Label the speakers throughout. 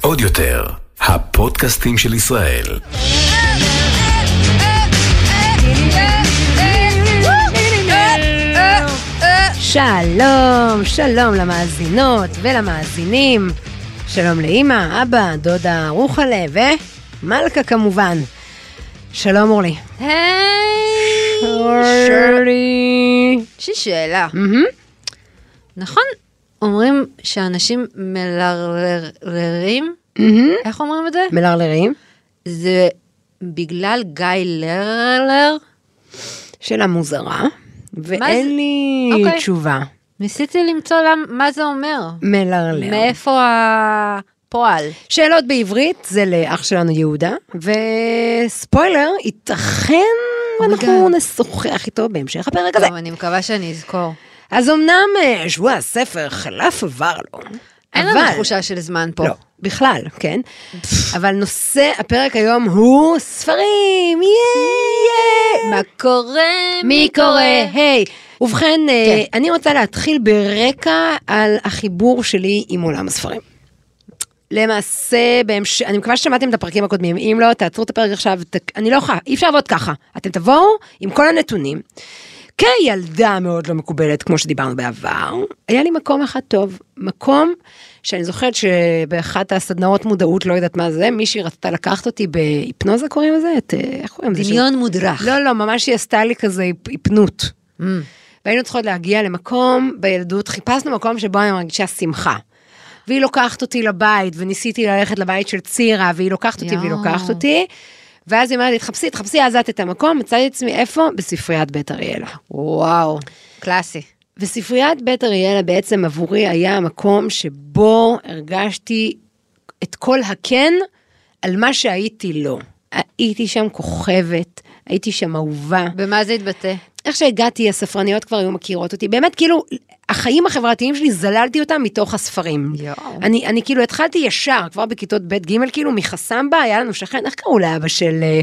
Speaker 1: עוד יותר, הפודקאסטים של ישראל.
Speaker 2: שלום, שלום למאזינות ולמאזינים. שלום לאימא, אבא, דודה רוחלה ומלכה כמובן. שלום אורלי.
Speaker 3: היי!
Speaker 2: אורלי.
Speaker 3: יש לי שאלה.
Speaker 2: מהמם.
Speaker 3: נכון אומרים שאנשים מלרלרים?
Speaker 2: מהמם.
Speaker 3: איך אומרים את זה?
Speaker 2: מלרלרים?
Speaker 3: זה בגלל גיא לרלר?
Speaker 2: שאלה מוזרה,
Speaker 3: זה?
Speaker 2: ואין לי
Speaker 3: אוקיי.
Speaker 2: תשובה.
Speaker 3: ניסיתי למצוא למ- מה זה אומר.
Speaker 2: מלרלר.
Speaker 3: מאיפה הפועל?
Speaker 2: שאלות בעברית זה לאח שלנו יהודה, וספוילר, ייתכן אנחנו
Speaker 3: Oh God. Oh.
Speaker 2: נשוחח איתו בהמשך הפרק הזה.
Speaker 3: טוב, אני מקווה שאני אזכור.
Speaker 2: אז אמנם אה, שבוע הספר חלף עבר לו,
Speaker 3: אין
Speaker 2: אבל-
Speaker 3: לנו תחושה של זמן פה.
Speaker 2: לא, בכלל, כן. אבל נושא הפרק היום הוא ספרים, יאיי!
Speaker 3: מה קורה?
Speaker 2: מי קורא? היי. ובכן, אה, אני רוצה להתחיל ברקע על החיבור שלי עם עולם הספרים. למעשה, בהמש... אני מקווה ששמעתם את הפרקים הקודמים, אם לא, תעצרו את הפרק עכשיו, ת... אני לא יכולה, אי אפשר לעבוד ככה. אתם תבואו עם כל הנתונים. כילדה מאוד לא מקובלת, כמו שדיברנו בעבר, היה לי מקום אחד טוב, מקום שאני זוכרת שבאחת הסדנאות מודעות, לא יודעת מה זה, מישהי רצתה לקחת אותי בהיפנוזה קוראים לזה, את, אה, איך קוראים לזה?
Speaker 3: דמיון מודרך.
Speaker 2: לא, לא, ממש היא עשתה לי כזה היפ- היפנות.
Speaker 3: Mm.
Speaker 2: והיינו צריכות להגיע למקום, בילדות חיפשנו מקום שבו אני מרגישה שמחה. והיא לוקחת אותי לבית, וניסיתי ללכת לבית של צירה, והיא לוקחת אותי והיא
Speaker 3: יואו.
Speaker 2: לוקחת אותי. ואז היא אומרת לי, תחפשי, תחפשי אז את את המקום, מצאתי את עצמי איפה? בספריית בית אריאלה.
Speaker 3: וואו, קלאסי.
Speaker 2: וספריית בית אריאלה בעצם עבורי היה המקום שבו הרגשתי את כל הכן על מה שהייתי לא. הייתי שם כוכבת, הייתי שם אהובה.
Speaker 3: במה זה התבטא?
Speaker 2: איך שהגעתי, הספרניות כבר היו מכירות אותי. באמת, כאילו, החיים החברתיים שלי, זללתי אותם מתוך הספרים.
Speaker 3: יואו.
Speaker 2: אני, אני כאילו התחלתי ישר, כבר בכיתות ב'-ג', כאילו מחסמבה, היה לנו שכן, איך קראו לאבא של אה,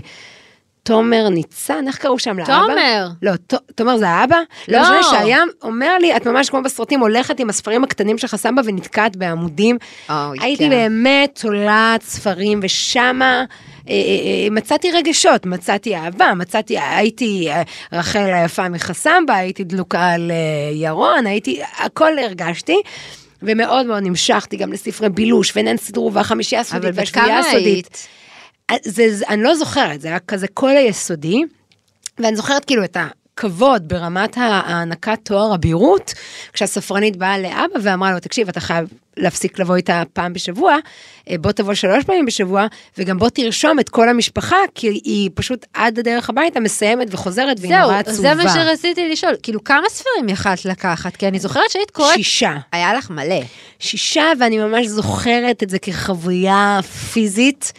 Speaker 2: תומר ניצן? איך קראו שם לאבא?
Speaker 3: תומר.
Speaker 2: לא, ת, תומר זה האבא?
Speaker 3: לא.
Speaker 2: לא משנה שהיה אומר לי, את ממש כמו בסרטים, הולכת עם הספרים הקטנים שלך סמבה ונתקעת בעמודים.
Speaker 3: אוי,
Speaker 2: הייתי
Speaker 3: כן.
Speaker 2: באמת תולעת ספרים, ושמה אה, אה, אה, מצאתי רגשות, מצאתי אהבה, מצאתי, הייתי אה, רחל היפה מחסמבה, הייתי דלוקה על אה, ירון, הייתי, הכל הרגשתי. ומאוד מאוד נמשכתי גם לספרי בילוש, וננסי דרור והחמישייה
Speaker 3: אבל
Speaker 2: הסודית
Speaker 3: בת
Speaker 2: והשביעייה
Speaker 3: כמה
Speaker 2: הסודית.
Speaker 3: היית?
Speaker 2: זה, זה, אני לא זוכרת, זה היה כזה כל היסודי, ואני זוכרת כאילו את הכבוד ברמת הענקת תואר אבירות, כשהספרנית באה לאבא ואמרה לו, תקשיב, אתה חייב להפסיק לבוא איתה פעם בשבוע, אה, בוא תבוא שלוש פעמים בשבוע, וגם בוא תרשום את כל המשפחה, כי היא פשוט עד הדרך הביתה מסיימת וחוזרת, והיא נורא
Speaker 3: זהו,
Speaker 2: עצובה.
Speaker 3: זה מה שרציתי לשאול. כאילו, כמה ספרים יכלת לקחת? כי אני זוכרת שהיית קוראת...
Speaker 2: שישה.
Speaker 3: היה לך מלא.
Speaker 2: שישה, ואני ממש זוכרת את זה כחוויה פיזית.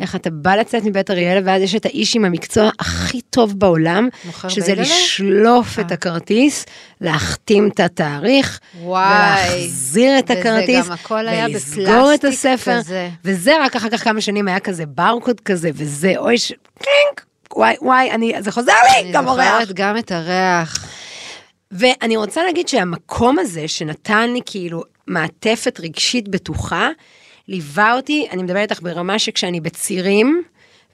Speaker 2: איך אתה בא לצאת מבית אריאלה, ואז יש את האיש עם המקצוע הכי טוב בעולם,
Speaker 3: מוכר אה.
Speaker 2: שזה
Speaker 3: בייגלה?
Speaker 2: לשלוף את הכרטיס, להחתים את התאריך,
Speaker 3: וואי.
Speaker 2: ולהחזיר את
Speaker 3: וזה
Speaker 2: הכרטיס,
Speaker 3: גם הכל היה
Speaker 2: ולסגור את
Speaker 3: בפלסטיק
Speaker 2: הספר,
Speaker 3: כזה.
Speaker 2: וזה רק אחר כך כמה שנים היה כזה ברקוד כזה, וזה אוי, ש- קלינק, וואי, וואי, אני, זה חוזר לי,
Speaker 3: אני
Speaker 2: גם אורח.
Speaker 3: זוכרת גם את הריח.
Speaker 2: ואני רוצה להגיד שהמקום הזה שנתן לי כאילו מעטפת רגשית בטוחה, ליווה אותי, אני מדברת איתך ברמה שכשאני בצירים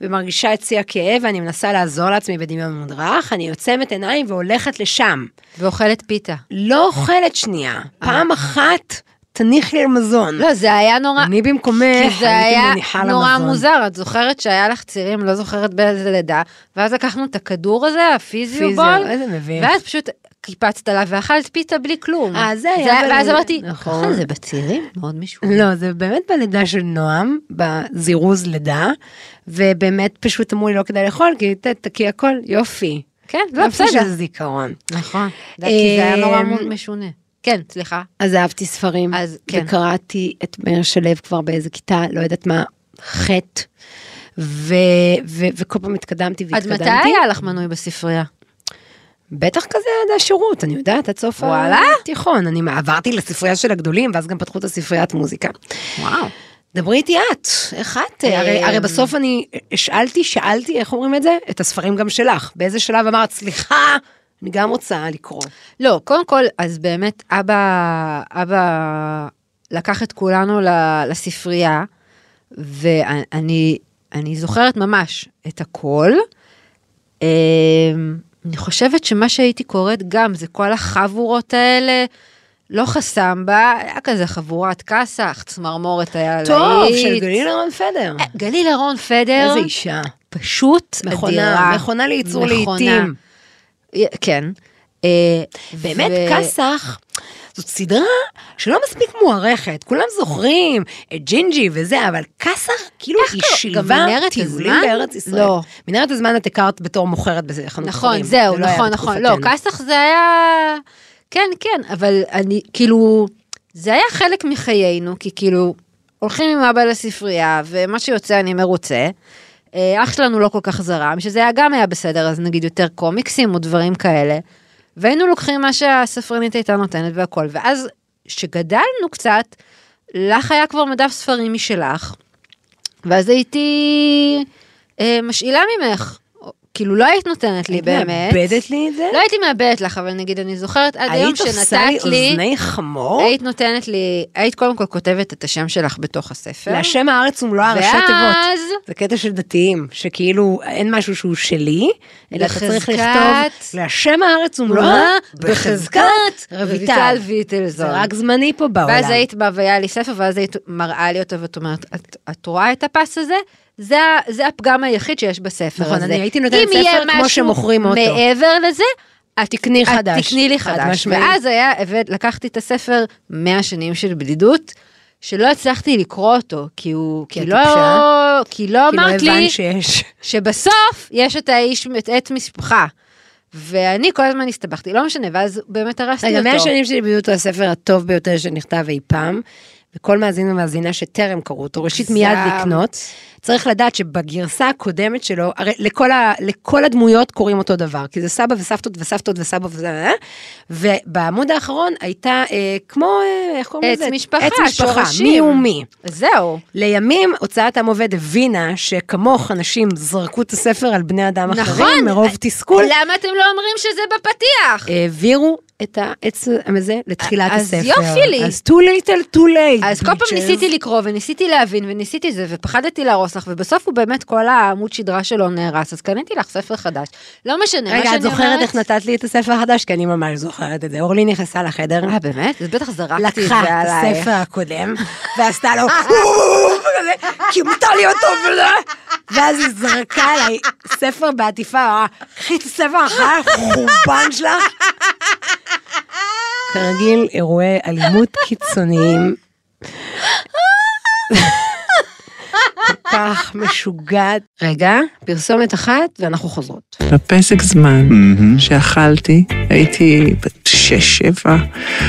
Speaker 2: ומרגישה את שיא הכאב ואני מנסה לעזור לעצמי בדמיון מודרך, אני עוצמת עיניים והולכת לשם.
Speaker 3: ואוכלת פיתה.
Speaker 2: לא אוכלת שנייה, פעם אחת תניחי על מזון.
Speaker 3: אה. לא, זה היה נורא...
Speaker 2: אני במקומך
Speaker 3: כי זה
Speaker 2: הייתי
Speaker 3: היה
Speaker 2: מניחה על
Speaker 3: נורא
Speaker 2: המזון.
Speaker 3: מוזר, את זוכרת שהיה לך צירים, לא זוכרת באיזה לידה, ואז לקחנו את הכדור הזה,
Speaker 2: פיזיו,
Speaker 3: הפיזיובול,
Speaker 2: איזה מביך.
Speaker 3: ואז פשוט קיפצת עליו ואכלת פיתה בלי כלום.
Speaker 2: אה, זה היה בלידה.
Speaker 3: ואז אמרתי,
Speaker 2: נכון.
Speaker 3: ככה זה בצירים? מאוד משהו.
Speaker 2: לא, זה באמת בלידה של נועם, בזירוז לידה, ובאמת פשוט אמרו לי לא כדאי לאכול, כי ת- תקיא הכל, יופי.
Speaker 3: כן, לא,
Speaker 2: יופי
Speaker 3: בסדר.
Speaker 2: של זיכרון.
Speaker 3: נכון. כי זה היה נורא
Speaker 2: אמ,
Speaker 3: מאוד משונה. כן, סליחה.
Speaker 2: אז אהבתי ספרים,
Speaker 3: אז כן.
Speaker 2: וקראתי את מאיר שלו כבר באיזה כיתה, לא יודעת מה, חטא, ו- ו- וכל פעם התקדמתי
Speaker 3: עד
Speaker 2: והתקדמתי.
Speaker 3: מתי היה לך מנוי בספריה?
Speaker 2: בטח כזה עד השירות, אני יודעת, עד סוף
Speaker 3: וואלה?
Speaker 2: התיכון. אני עברתי לספרייה של הגדולים, ואז גם פתחו את הספריית מוזיקה.
Speaker 3: וואו.
Speaker 2: דברי איתי את, איך את? הרי,
Speaker 3: אמ,
Speaker 2: הרי בסוף אני שאלתי, שאלתי, איך אומרים את זה? את הספרים גם שלך. באיזה שלב אמרת, סליחה, אני גם רוצה לקרוא.
Speaker 3: לא, קודם כל, אז באמת, אבא, אבא לקח את כולנו ל- לספרייה, ואני אני זוכרת ממש את הכל. אה, אני חושבת שמה שהייתי קוראת גם זה כל החבורות האלה. לא חסם בה, היה כזה חבורת כסח, צמרמורת היה להיט.
Speaker 2: טוב, של גליל הרמן פדר.
Speaker 3: אה, גליל אהרון פדר.
Speaker 2: איזה אישה.
Speaker 3: פשוט
Speaker 2: מכונה,
Speaker 3: אדירה.
Speaker 2: מכונה לייצור
Speaker 3: מכונה.
Speaker 2: לעיתים.
Speaker 3: י- כן. אה,
Speaker 2: באמת,
Speaker 3: ו-
Speaker 2: כסח, זאת סדרה שלא מספיק מוערכת. כולם זוכרים את ג'ינג'י וזה, אבל כסח, כאילו
Speaker 3: איך
Speaker 2: היא
Speaker 3: קראו? גם
Speaker 2: שילבה
Speaker 3: מנהרת
Speaker 2: טיולים
Speaker 3: הזמן?
Speaker 2: בארץ ישראל.
Speaker 3: לא.
Speaker 2: מנהרת הזמן את הכרת בתור מוכרת בחנות ספרים.
Speaker 3: נכון, זהו,
Speaker 2: זה לא היה
Speaker 3: נכון, נכון. לא,
Speaker 2: בתקופתנו.
Speaker 3: כסח זה היה... כן, כן, אבל אני, כאילו, זה היה חלק מחיינו, כי כאילו, הולכים עם אבא לספרייה, ומה שיוצא אני מרוצה. אה, אח שלנו לא כל כך זרם, שזה היה גם היה בסדר, אז נגיד יותר קומיקסים או דברים כאלה. והיינו לוקחים מה שהספרנית הייתה נותנת והכל, ואז שגדלנו קצת, לך היה כבר מדף ספרים משלך, ואז הייתי אה, משאילה ממך. או- כאילו לא היית נותנת לי
Speaker 2: היית
Speaker 3: באמת.
Speaker 2: מאבדת לי את זה?
Speaker 3: לא הייתי מאבדת לך, אבל נגיד אני זוכרת עד היום
Speaker 2: היית עושה לי
Speaker 3: שנתת לי, אה,
Speaker 2: אוזני חמור?
Speaker 3: היית נותנת לי, היית קודם כל כותבת את השם שלך בתוך הספר.
Speaker 2: להשם הארץ ומלוא הראשי תיבות.
Speaker 3: כן. ואז
Speaker 2: זה קטע של דתיים, שכאילו אין משהו שהוא שלי, אלא אתה צריך
Speaker 3: בחזקת-
Speaker 2: לכתוב להשם הארץ ומלואה
Speaker 3: נורא
Speaker 2: בחזקת רויטל.
Speaker 3: לא, רויטל ויטלזון.
Speaker 2: זה רק זמני פה בעולם.
Speaker 3: ואז היית באה והיה לי ספר, ואז היית מראה לי אותו, ואת אומרת, את, את רואה את הפס הזה? זה, ה- זה הפגם היחיד שיש בספר
Speaker 2: נכון,
Speaker 3: הזה.
Speaker 2: אני הייתי נותנת
Speaker 3: אם
Speaker 2: ספר
Speaker 3: יהיה
Speaker 2: כמו
Speaker 3: משהו
Speaker 2: שמוכרים אותו.
Speaker 3: מעבר לזה, את
Speaker 2: תקני
Speaker 3: את
Speaker 2: חדש.
Speaker 3: תקני לי
Speaker 2: חד
Speaker 3: חדש.
Speaker 2: משמעית.
Speaker 3: ואז היה, הבאת- לקחתי את הספר 100 שנים של בדידות, שלא הצלחתי לקרוא אותו, כי הוא,
Speaker 2: כי
Speaker 3: כי,
Speaker 2: את
Speaker 3: לא,
Speaker 2: טיפשה?
Speaker 3: כי לא
Speaker 2: כאילו
Speaker 3: אמרת לי
Speaker 2: הבנת שיש.
Speaker 3: שבסוף יש את האיש, את עט משפחה. ואני כל הזמן הסתבכתי, לא משנה, ואז באמת הרסתי אותו.
Speaker 2: רגע, מאה שנים שלי בדיוק הוא הספר הטוב ביותר שנכתב אי פעם, וכל מאזין ומאזינה שטרם קראו אותו, ראשית מיד
Speaker 3: זעם.
Speaker 2: לקנות. צריך לדעת שבגרסה הקודמת שלו, הרי לכל, ה, לכל הדמויות קוראים אותו דבר, כי זה סבא וסבתות וסבתות וסבא וזה, אה? ובעמוד האחרון הייתה אה, כמו, אה, איך קוראים
Speaker 3: עץ
Speaker 2: לזה?
Speaker 3: משפחה,
Speaker 2: עץ משפחה,
Speaker 3: שורשים.
Speaker 2: מי הוא מי.
Speaker 3: זהו.
Speaker 2: לימים הוצאת עם עובד הבינה שכמוך אנשים זרקו את הספר על בני אדם אחרים
Speaker 3: נכון.
Speaker 2: מרוב תסכול,
Speaker 3: למה אתם לא אומרים שזה בפתיח?
Speaker 2: העבירו את העץ הזה לתחילת
Speaker 3: אז
Speaker 2: הספר.
Speaker 3: יופי לי.
Speaker 2: אז too little too late.
Speaker 3: אז כל פעם
Speaker 2: bitches.
Speaker 3: ניסיתי לקרוא וניסיתי להבין וניסיתי זה ופחדתי להרוס לך ובסוף הוא באמת כל העמוד שדרה שלו נהרס אז קניתי לך ספר חדש. לא משנה, מה
Speaker 2: רגע,
Speaker 3: שאני
Speaker 2: את זוכרת
Speaker 3: אומרת-
Speaker 2: איך נתת לי את הספר החדש? כי אני ממש זוכרת את זה. אורלי נכנסה לחדר,
Speaker 3: אה באמת? אז בטח זרקתי את
Speaker 2: לקחה
Speaker 3: זה
Speaker 2: את
Speaker 3: עלייך.
Speaker 2: הספר הקודם, ועשתה לו, וכזה, כי מותר לי אותו, ולא... ואז היא זרקה עליי ספר בעטיפה, אמרה, קחי את הספר אחר חורבן שלך. כרגיל, אירועי אלימות קיצוניים. כל כך משוגעת. רגע, פרסומת אחת ואנחנו חוזרות.
Speaker 4: בפסק זמן שאכלתי, הייתי בת שש-שבע,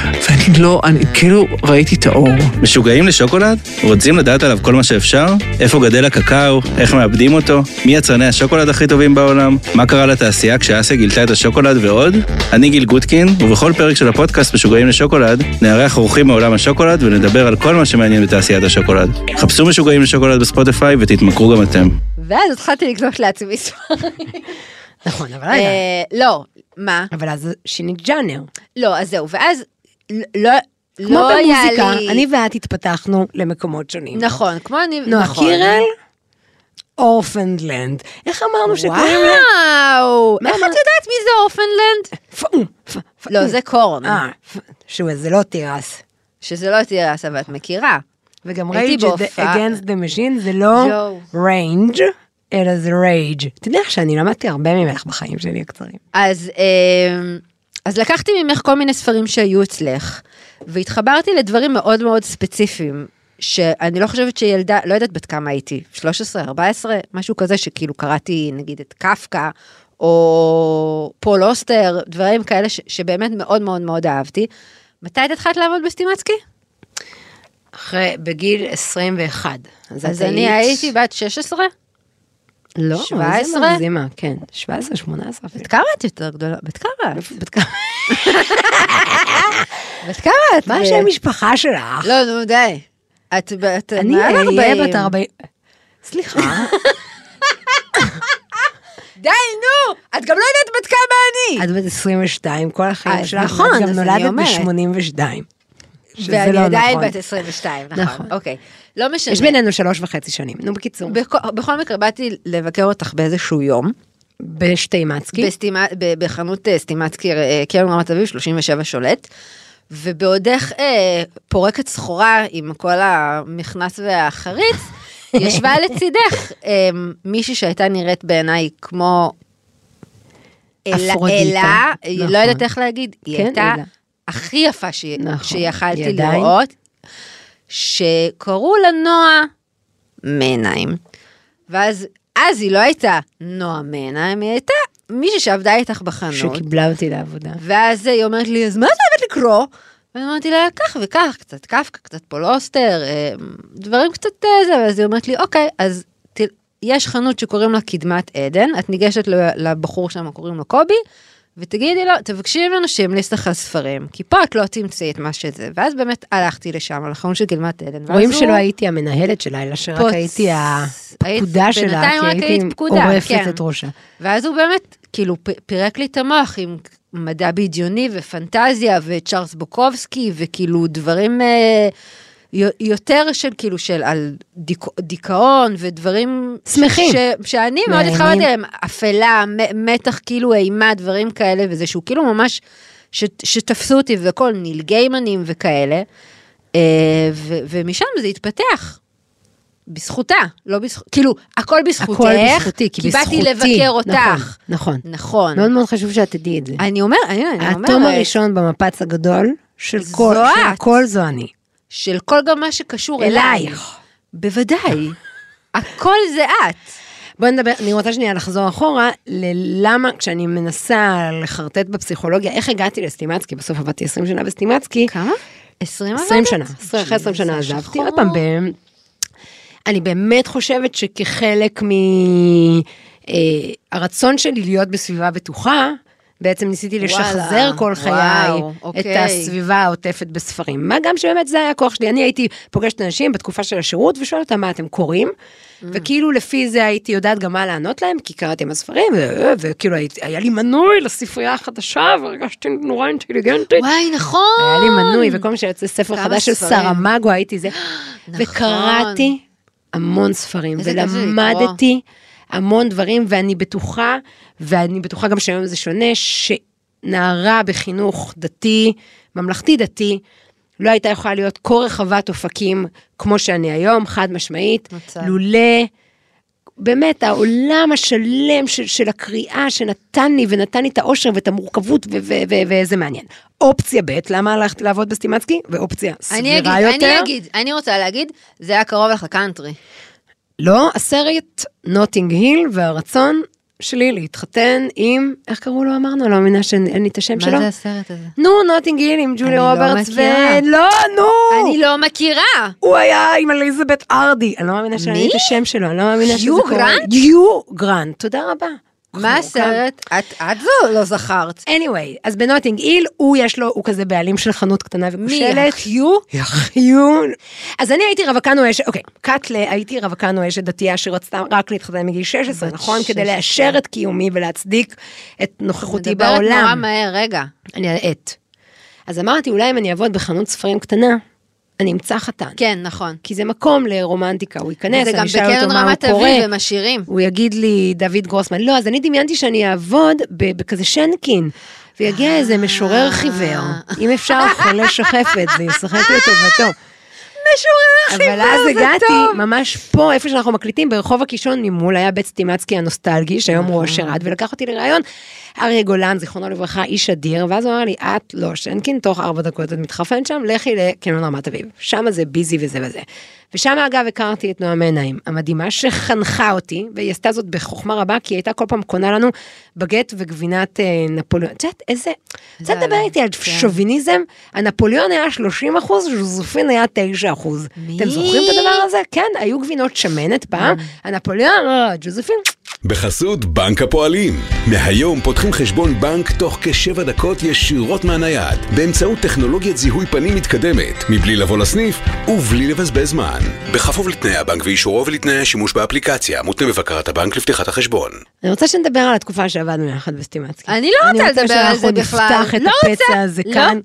Speaker 4: ואני לא, אני כאילו ראיתי את האור.
Speaker 5: משוגעים לשוקולד? רוצים לדעת עליו כל מה שאפשר? איפה גדל הקקאו? איך מעבדים אותו? מי יצרני השוקולד הכי טובים בעולם? מה קרה לתעשייה כשאסיה גילתה את השוקולד ועוד? אני גיל גוטקין, ובכל פרק של הפודקאסט משוגעים לשוקולד, נארח אורחים מעולם השוקולד ונדבר על כל מה שמעניין בתעשיית השוקולד. חפשו משוגעים לשוקולד בספוטיפיי ותתמכרו גם אתם.
Speaker 3: ואז התחלתי לקנות לעצמי ספרים.
Speaker 2: נכון, אבל
Speaker 3: אה, לא, מה?
Speaker 2: אבל אז שינית ג'אנר.
Speaker 3: לא, אז זהו, ואז לא...
Speaker 2: כמו
Speaker 3: לא היה
Speaker 2: במוזיקה,
Speaker 3: לי-
Speaker 2: אני ואת התפתחנו למקומות שונים.
Speaker 3: נכון, כמו אני...
Speaker 2: נועה
Speaker 3: נכון.
Speaker 2: קירל, אורפנדלנד. איך אמרנו שקוראים לה?
Speaker 3: וואו,
Speaker 2: מה
Speaker 3: איך את
Speaker 2: אמרת?
Speaker 3: יודעת מי זה אורפנלנד?
Speaker 2: פאום, פא- פאום.
Speaker 3: לא, זה קורן,
Speaker 2: אה, פ- שהוא איזה לא תירס.
Speaker 3: שזה לא תהיה הסבה, את מכירה.
Speaker 2: וגם
Speaker 3: הייתי
Speaker 2: רייג'
Speaker 3: בהופעה.
Speaker 2: against the machine זה לא
Speaker 3: יואו.
Speaker 2: ריינג', אלא זה רייג'. תדעי לך שאני למדתי הרבה ממך בחיים שלי הקצרים.
Speaker 3: אז, אמ, אז לקחתי ממך כל מיני ספרים שהיו אצלך, והתחברתי לדברים מאוד מאוד ספציפיים, שאני לא חושבת שילדה, לא יודעת בת כמה הייתי, 13, 14, משהו כזה, שכאילו קראתי נגיד את קפקא, או פול אוסטר, דברים כאלה ש, שבאמת מאוד מאוד מאוד אהבתי. מתי את התחלת לעבוד בסטימצקי?
Speaker 2: אחרי, בגיל 21.
Speaker 3: אז אני הייתי בת 16?
Speaker 2: לא, 17?
Speaker 3: 17?
Speaker 2: מגזימה, כן. 17, 18.
Speaker 3: בת כמה את יותר גדולה? בת כמה?
Speaker 2: בת כמה?
Speaker 3: בת כמה את?
Speaker 2: מה
Speaker 3: ב-
Speaker 2: השם משפחה שלך?
Speaker 3: לא, נו, די. את בת...
Speaker 2: אני
Speaker 3: מעל
Speaker 2: אהיה
Speaker 3: 40.
Speaker 2: בת 40. סליחה,
Speaker 3: די, נו! את גם לא יודעת בת כמה אני!
Speaker 2: את בת 22 כל החיים
Speaker 3: אז
Speaker 2: שלך,
Speaker 3: אוקיי. נכון,
Speaker 2: את גם
Speaker 3: אז אני
Speaker 2: נולדת
Speaker 3: אומרת.
Speaker 2: ב-82. שזה
Speaker 3: ואני
Speaker 2: לא
Speaker 3: עדיין
Speaker 2: נכון.
Speaker 3: בת 22,
Speaker 2: נכון.
Speaker 3: נכון, אוקיי. לא משנה.
Speaker 2: יש בינינו שלוש וחצי שנים. נו, בקיצור.
Speaker 3: בכ- בכל מקרה, באתי לבקר אותך באיזשהו יום,
Speaker 2: בשטיימצקי.
Speaker 3: בסטימה- ב- בחנות אה, סטימצקי, אה, קרן רמת אביב, 37 שולט, ובעודך אה, פורקת סחורה עם כל המכנס והחריץ, ישבה לצידך אה, מישהי שהייתה נראית בעיניי כמו... אלה,
Speaker 2: אפרודיטה.
Speaker 3: אלה,
Speaker 2: נכון.
Speaker 3: לא יודעת איך להגיד, היא
Speaker 2: כן,
Speaker 3: הייתה
Speaker 2: אלה.
Speaker 3: הכי יפה ש...
Speaker 2: נכון.
Speaker 3: שיכלתי
Speaker 2: היא עדיין-
Speaker 3: לראות, שקראו לה נועה מעיניים. ואז אז היא לא הייתה נועה מעיניים, היא הייתה מישהי שעבדה איתך בחנות.
Speaker 2: שקיבלה אותי לעבודה.
Speaker 3: ואז היא אומרת לי, אז מה את אוהבת לקרוא? ואני אמרתי לה, כך וכך, קצת קפקא, קצת פולוסטר, אה, דברים קצת אה, זה, ואז היא אומרת לי, אוקיי, אז ת... יש חנות שקוראים לה קדמת עדן, את ניגשת ל- לבחור שם, קוראים לו קובי, ותגידי לו, תבקשי מאנשים להסתכל ספרים, כי פה את לא תמצאי את מה שזה. ואז באמת הלכתי לשם, לחנות של קדמת עדן. ואז
Speaker 2: רואים
Speaker 3: הוא-
Speaker 2: שלא הייתי המנהלת שלה, אלא שרק
Speaker 3: פוץ.
Speaker 2: הייתי הפקודה
Speaker 3: היית-
Speaker 2: שלה,
Speaker 3: בינתיים רק
Speaker 2: כי
Speaker 3: היית
Speaker 2: הייתי
Speaker 3: פקודה,
Speaker 2: עורפת
Speaker 3: כן.
Speaker 2: את ראשה.
Speaker 3: ואז הוא באמת, כאילו, פ- פירק לי את המוח עם מדע בדיוני ופנטזיה וצ'ארלס בוקובסקי, וכאילו דברים אה, יו- יותר של, כאילו, של על דיק, דיכאון ודברים...
Speaker 2: שמחים.
Speaker 3: ש, שאני מאוד
Speaker 2: נהנים.
Speaker 3: התחברתי אליהם, אפלה, מ- מתח, כאילו, אימה, דברים כאלה, וזה שהוא כאילו ממש, ש, שתפסו אותי וכל ניל גיימנים וכאלה, אה, ו, ומשם זה התפתח. בזכותה, לא בזכות, כאילו, הכל בזכותך,
Speaker 2: הכל בזכותי, כי בזכותי.
Speaker 3: באתי לבקר אותך.
Speaker 2: נכון, נכון.
Speaker 3: נכון.
Speaker 2: מאוד מאוד חשוב שאת תדעי את זה.
Speaker 3: אני אומר, אני אני אומרת,
Speaker 2: האטום הראשון במפץ הגדול של
Speaker 3: זו
Speaker 2: כל, של
Speaker 3: את.
Speaker 2: כל זו אני.
Speaker 3: של כל גם מה שקשור אלייך.
Speaker 2: אלייך.
Speaker 3: בוודאי. הכל זה את.
Speaker 2: בואי נדבר, אני רוצה שנייה לחזור אחורה, ללמה כשאני מנסה לחרטט בפסיכולוגיה, איך הגעתי לסטימצקי, בסוף עבדתי 20 שנה בסטימצקי.
Speaker 3: כמה? 20 עבדת?
Speaker 2: 20 שנה, 20, אחרי 20 שנה
Speaker 3: שזה
Speaker 2: עזבתי,
Speaker 3: שחור.
Speaker 2: עוד פעם, ב... אני באמת חושבת שכחלק מהרצון שלי להיות בסביבה בטוחה, בעצם ניסיתי לשחזר
Speaker 3: וואלה,
Speaker 2: כל חיי
Speaker 3: וואו,
Speaker 2: את
Speaker 3: אוקיי.
Speaker 2: הסביבה העוטפת בספרים. מה גם שבאמת זה היה הכוח שלי. אני הייתי פוגשת אנשים בתקופה של השירות ושואלת אותם מה אתם קוראים,
Speaker 3: Mm.
Speaker 2: וכאילו לפי זה הייתי יודעת גם מה לענות להם, כי קראתי עם הספרים, ו- וכאילו הייתי- היה לי מנוי לספרייה החדשה, והרגשתי נורא אינטליגנטית.
Speaker 3: וואי, נכון.
Speaker 2: היה לי מנוי, וכל פעם שיוצא ספר
Speaker 3: כמה
Speaker 2: חדש של
Speaker 3: ספרים.
Speaker 2: סארמגו הייתי זה.
Speaker 3: נכון.
Speaker 2: וקראתי המון ספרים,
Speaker 3: איזה כיף זה
Speaker 2: ולמדתי המון דברים, ואני בטוחה, ואני בטוחה גם שהיום זה שונה, שנערה בחינוך דתי, ממלכתי דתי, לא הייתה יכולה להיות כה רחבת אופקים כמו שאני היום, חד משמעית,
Speaker 3: מצב.
Speaker 2: לולא... באמת, העולם השלם של, של הקריאה שנתן לי, ונתן לי את האושר ואת המורכבות, ו- ו- ו- וזה מעניין. אופציה ב', למה הלכת לעבוד בסטימצקי? ואופציה
Speaker 3: אני
Speaker 2: סבירה
Speaker 3: אגיד,
Speaker 2: יותר.
Speaker 3: אני אגיד, אני רוצה להגיד, זה היה קרוב לך לקאנטרי.
Speaker 2: לא, הסרט נוטינג היל והרצון שלי להתחתן עם, איך קראו לו אמרנו? לא מאמינה שאין לי את השם שלו.
Speaker 3: מה זה הסרט הזה?
Speaker 2: נו, נוטינג היל עם
Speaker 3: אני
Speaker 2: ג'ולי
Speaker 3: לא
Speaker 2: רוברטס ו...
Speaker 3: מכירה.
Speaker 2: לא, נו!
Speaker 3: אני לא מכירה.
Speaker 2: הוא היה עם אליזבת ארדי. אני לא מאמינה שאין לי
Speaker 3: מי?
Speaker 2: את השם שלו, אני לא מאמינה שזה
Speaker 3: יו
Speaker 2: קורה.
Speaker 3: גרנט?
Speaker 2: יו גרנט, תודה רבה.
Speaker 3: מה הסרט? את את זו לא זכרת.
Speaker 2: anyway, אז בנוטינג היל, הוא יש לו, הוא כזה בעלים של חנות קטנה וכושלת.
Speaker 3: מי,
Speaker 2: יחיו? יחיו. אז אני הייתי רווקה נואשת, אוקיי, קאטלה, הייתי רווקה נואשת דתייה שרצתה רק להתחתן מגיל 16,
Speaker 3: בת
Speaker 2: נכון?
Speaker 3: 16.
Speaker 2: כדי לאשר את קיומי ולהצדיק את נוכחותי בעולם.
Speaker 3: מדברת נורא מהר, רגע.
Speaker 2: אני האט. אז אמרתי, אולי אם אני אעבוד בחנות ספרים קטנה, אני אמצא חתן.
Speaker 3: כן, נכון.
Speaker 2: כי זה מקום לרומנטיקה, הוא ייכנס,
Speaker 3: זה גם
Speaker 2: אני אשאל
Speaker 3: בקרן
Speaker 2: אותו מה הוא
Speaker 3: רמת
Speaker 2: קורא.
Speaker 3: אביב הם עשירים.
Speaker 2: הוא יגיד לי, דוד גרוסמן, לא, אז אני דמיינתי שאני אעבוד ב- בכזה שנקין, ויגיע איזה משורר חיוור, אם אפשר חולה שחפת, זה ישחק לטובתו.
Speaker 3: משורר
Speaker 2: אבל אז הגעתי ממש פה, איפה שאנחנו מקליטים, ברחוב הקישון ממול, היה בית סטימצקי הנוסטלגי, שהיום הוא אושר עד, ולקח אותי לראיון. אריה גולן, זיכרונו לברכה, איש אדיר, ואז הוא אמר לי, את לא שנקין, תוך ארבע דקות את מתחרפנת שם, לכי לקניון רמת אביב. שם זה ביזי וזה וזה. ושם אגב הכרתי את נועם עיניים, המדהימה שחנכה אותי, והיא עשתה זאת בחוכמה רבה, כי היא הייתה כל פעם קונה לנו בגט וגבינת אה, נפוליאון. את יודעת איזה, את רוצה לדבר
Speaker 3: יאללה,
Speaker 2: איתי על
Speaker 3: כן.
Speaker 2: שוביניזם? הנפוליאון היה 30 אחוז, זוזופין היה 9 אחוז. אתם זוכרים את הדבר הזה? כן, היו גבינות
Speaker 3: כן.
Speaker 2: שמנת פעם, הנפוליאון, אה, ג'וזפין,
Speaker 1: בחסות בנק הפועלים. מהיום פותחים חשבון בנק תוך כשבע דקות ישירות מהנייד, באמצעות טכנולוגיית זיהוי פנים מתקדמת, מבלי לבוא לסניף ובלי לבזבז זמן. בכפוף לתנאי הבנק ואישורו ולתנאי השימוש באפליקציה, מותנה בבקרת הבנק לפתיחת החשבון.
Speaker 2: אני רוצה שנדבר על התקופה שעבדנו יחד בסטימצקי.
Speaker 3: אני לא רוצה לדבר על זה
Speaker 2: אני
Speaker 3: בכלל.
Speaker 2: רוצה שאנחנו נפתח את
Speaker 3: לא
Speaker 2: הפצע
Speaker 3: רוצה.
Speaker 2: הזה
Speaker 3: לא.
Speaker 2: כאן.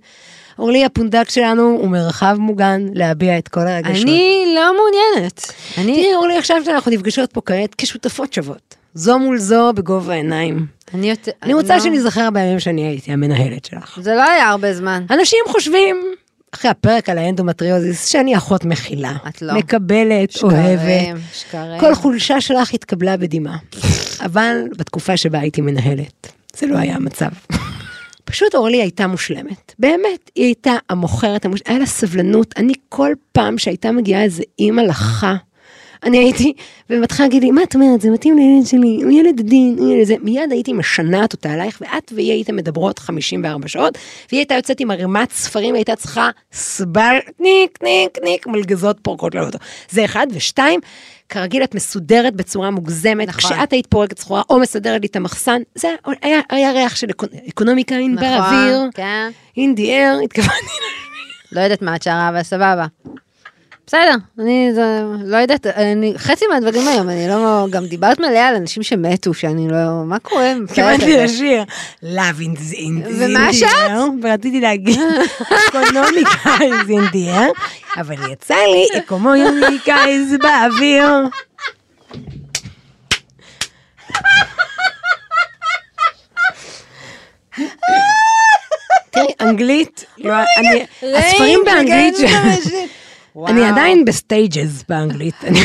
Speaker 2: אורלי, הפונדק שלנו הוא מרחב מוגן להביע את כל הרגשות.
Speaker 3: אני לא מעוניינת. אני,
Speaker 2: תראי, אורלי, עכשיו שאנחנו נפגשות פה כעת כשותפות שוות. זו מול זו בגובה העיניים.
Speaker 3: אני יותר...
Speaker 2: אני רוצה
Speaker 3: לא.
Speaker 2: שניזכר בימים שאני הייתי המנהלת שלך.
Speaker 3: זה לא היה הרבה זמן.
Speaker 2: אנשים חושבים, אחרי הפרק על האנדומטריוזיס, שאני אחות מכילה.
Speaker 3: את לא.
Speaker 2: מקבלת,
Speaker 3: שקרים,
Speaker 2: אוהבת.
Speaker 3: שקרים.
Speaker 2: כל חולשה שלך התקבלה בדמעה. אבל בתקופה שבה הייתי מנהלת, זה לא היה המצב. פשוט אורלי הייתה מושלמת. באמת, היא הייתה המוכרת, המוש... היה לה סבלנות. אני כל פעם שהייתה מגיעה איזה אימא לחה, אני הייתי, ומתחילה להגיד לי, מה את אומרת, זה מתאים לילד שלי, הוא ילד עדין, הוא ילד זה, מיד הייתי משנעת אותה עלייך, ואת והיא הייתם מדברות 54 שעות, והיא הייתה יוצאת עם ערימת ספרים, הייתה צריכה סבל, ניק, ניק, ניק, מלגזות פורקות לאוטו. זה אחד, ושתיים, כרגיל את מסודרת בצורה מוגזמת,
Speaker 3: נכון.
Speaker 2: כשאת היית פורקת סחורה או מסדרת לי את המחסן, זה היה- היה, היה ריח של אקונ- אקונומיקה אין
Speaker 3: נכון,
Speaker 2: באוויר,
Speaker 3: כן.
Speaker 2: אין די אר, התכוונתי
Speaker 3: לא יודעת מה את שרה, אבל סבבה. בסדר, אני זה, לא יודעת, אני, חצי מהדברים היום, אני לא, גם דיברת מלא על אנשים שמתו, שאני לא, מה קורה?
Speaker 2: התכוונתי לשיר, Love in the in the
Speaker 3: כן. ומה
Speaker 2: in the
Speaker 3: שאת?
Speaker 2: air", ורציתי להגיד, אקונומיקה is in the air, אבל יצא לי, אקונומיקה is באוויר. תראי, אנגלית, לא, אני- הספרים באנגלית, ש- אני עדיין בסטייג'ס באנגלית. אני-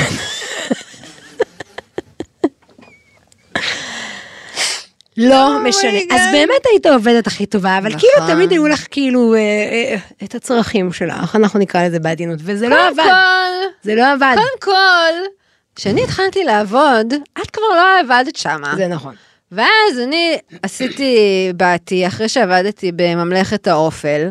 Speaker 2: לא
Speaker 3: Oh
Speaker 2: משנה. אז באמת היית העובדת הכי טובה, אבל
Speaker 3: נכון.
Speaker 2: כאילו תמיד היו לך כאילו אה, אה, את הצרכים שלך, אנחנו נקרא לזה בעדינות, וזה לא
Speaker 3: קודם
Speaker 2: עבד.
Speaker 3: כל,
Speaker 2: זה לא עבד.
Speaker 3: קודם כל, כשאני התחלתי לעבוד, את כבר לא עבדת שמה.
Speaker 2: זה נכון.
Speaker 3: ואז אני עשיתי, באתי, אחרי שעבדתי בממלכת האופל,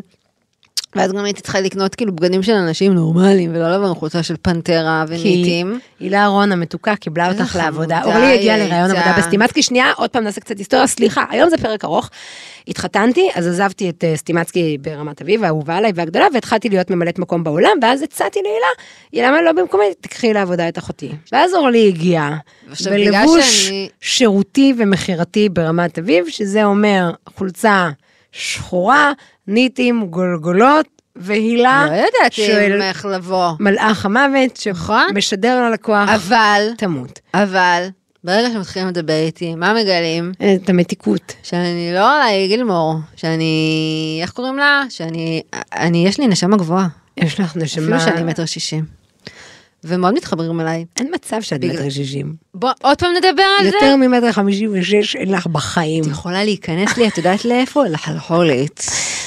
Speaker 3: ואז גם הייתי צריכה לקנות כאילו בגדים של אנשים נורמליים, ולא לבן חולצה של פנטרה
Speaker 2: כי
Speaker 3: וניטים.
Speaker 2: הילה רון המתוקה קיבלה אותך
Speaker 3: איזה
Speaker 2: לעבודה.
Speaker 3: חמודה
Speaker 2: אורלי
Speaker 3: היא
Speaker 2: הגיעה לראיון
Speaker 3: הייתה.
Speaker 2: עבודה בסטימצקי. שנייה, עוד פעם נעשה קצת היסטוריה. סליחה, היום זה פרק ארוך. התחתנתי, אז עזבתי את אה, סטימצקי ברמת אביב, האהובה עליי והגדולה, והתחלתי להיות ממלאת מקום בעולם, ואז הצעתי להילה, היא למה לא במקומי, תקחי לעבודה את אחותי. ואז אורלי הגיעה,
Speaker 3: ועכשיו, בגלל
Speaker 2: בלבוש
Speaker 3: שאני-
Speaker 2: שירותי ומכירתי ברמת אביב, שזה אומר חולצה שחורה, ניטים, גולגולות, והילה
Speaker 3: לא יודעת
Speaker 2: של
Speaker 3: אם איך לבוא.
Speaker 2: מלאך המוות, שמשדר ללקוח,
Speaker 3: אבל,
Speaker 2: תמות.
Speaker 3: אבל, ברגע שמתחילים לדבר איתי, מה מגלים?
Speaker 2: את המתיקות.
Speaker 3: שאני לא עליי גילמור, שאני, איך קוראים לה? שאני, אני, יש לי נשמה גבוהה,
Speaker 2: יש לך נשמה.
Speaker 3: אפילו שאני מטר שישים. ומאוד מתחברים אליי.
Speaker 2: אין מצב שאת
Speaker 3: בגלל-
Speaker 2: מטר שישים.
Speaker 3: בוא, עוד פעם נדבר על זה.
Speaker 2: יותר ממטר חמישים ושש אין לך בחיים.
Speaker 3: את יכולה להיכנס לי, את יודעת לאיפה? לחלחולת.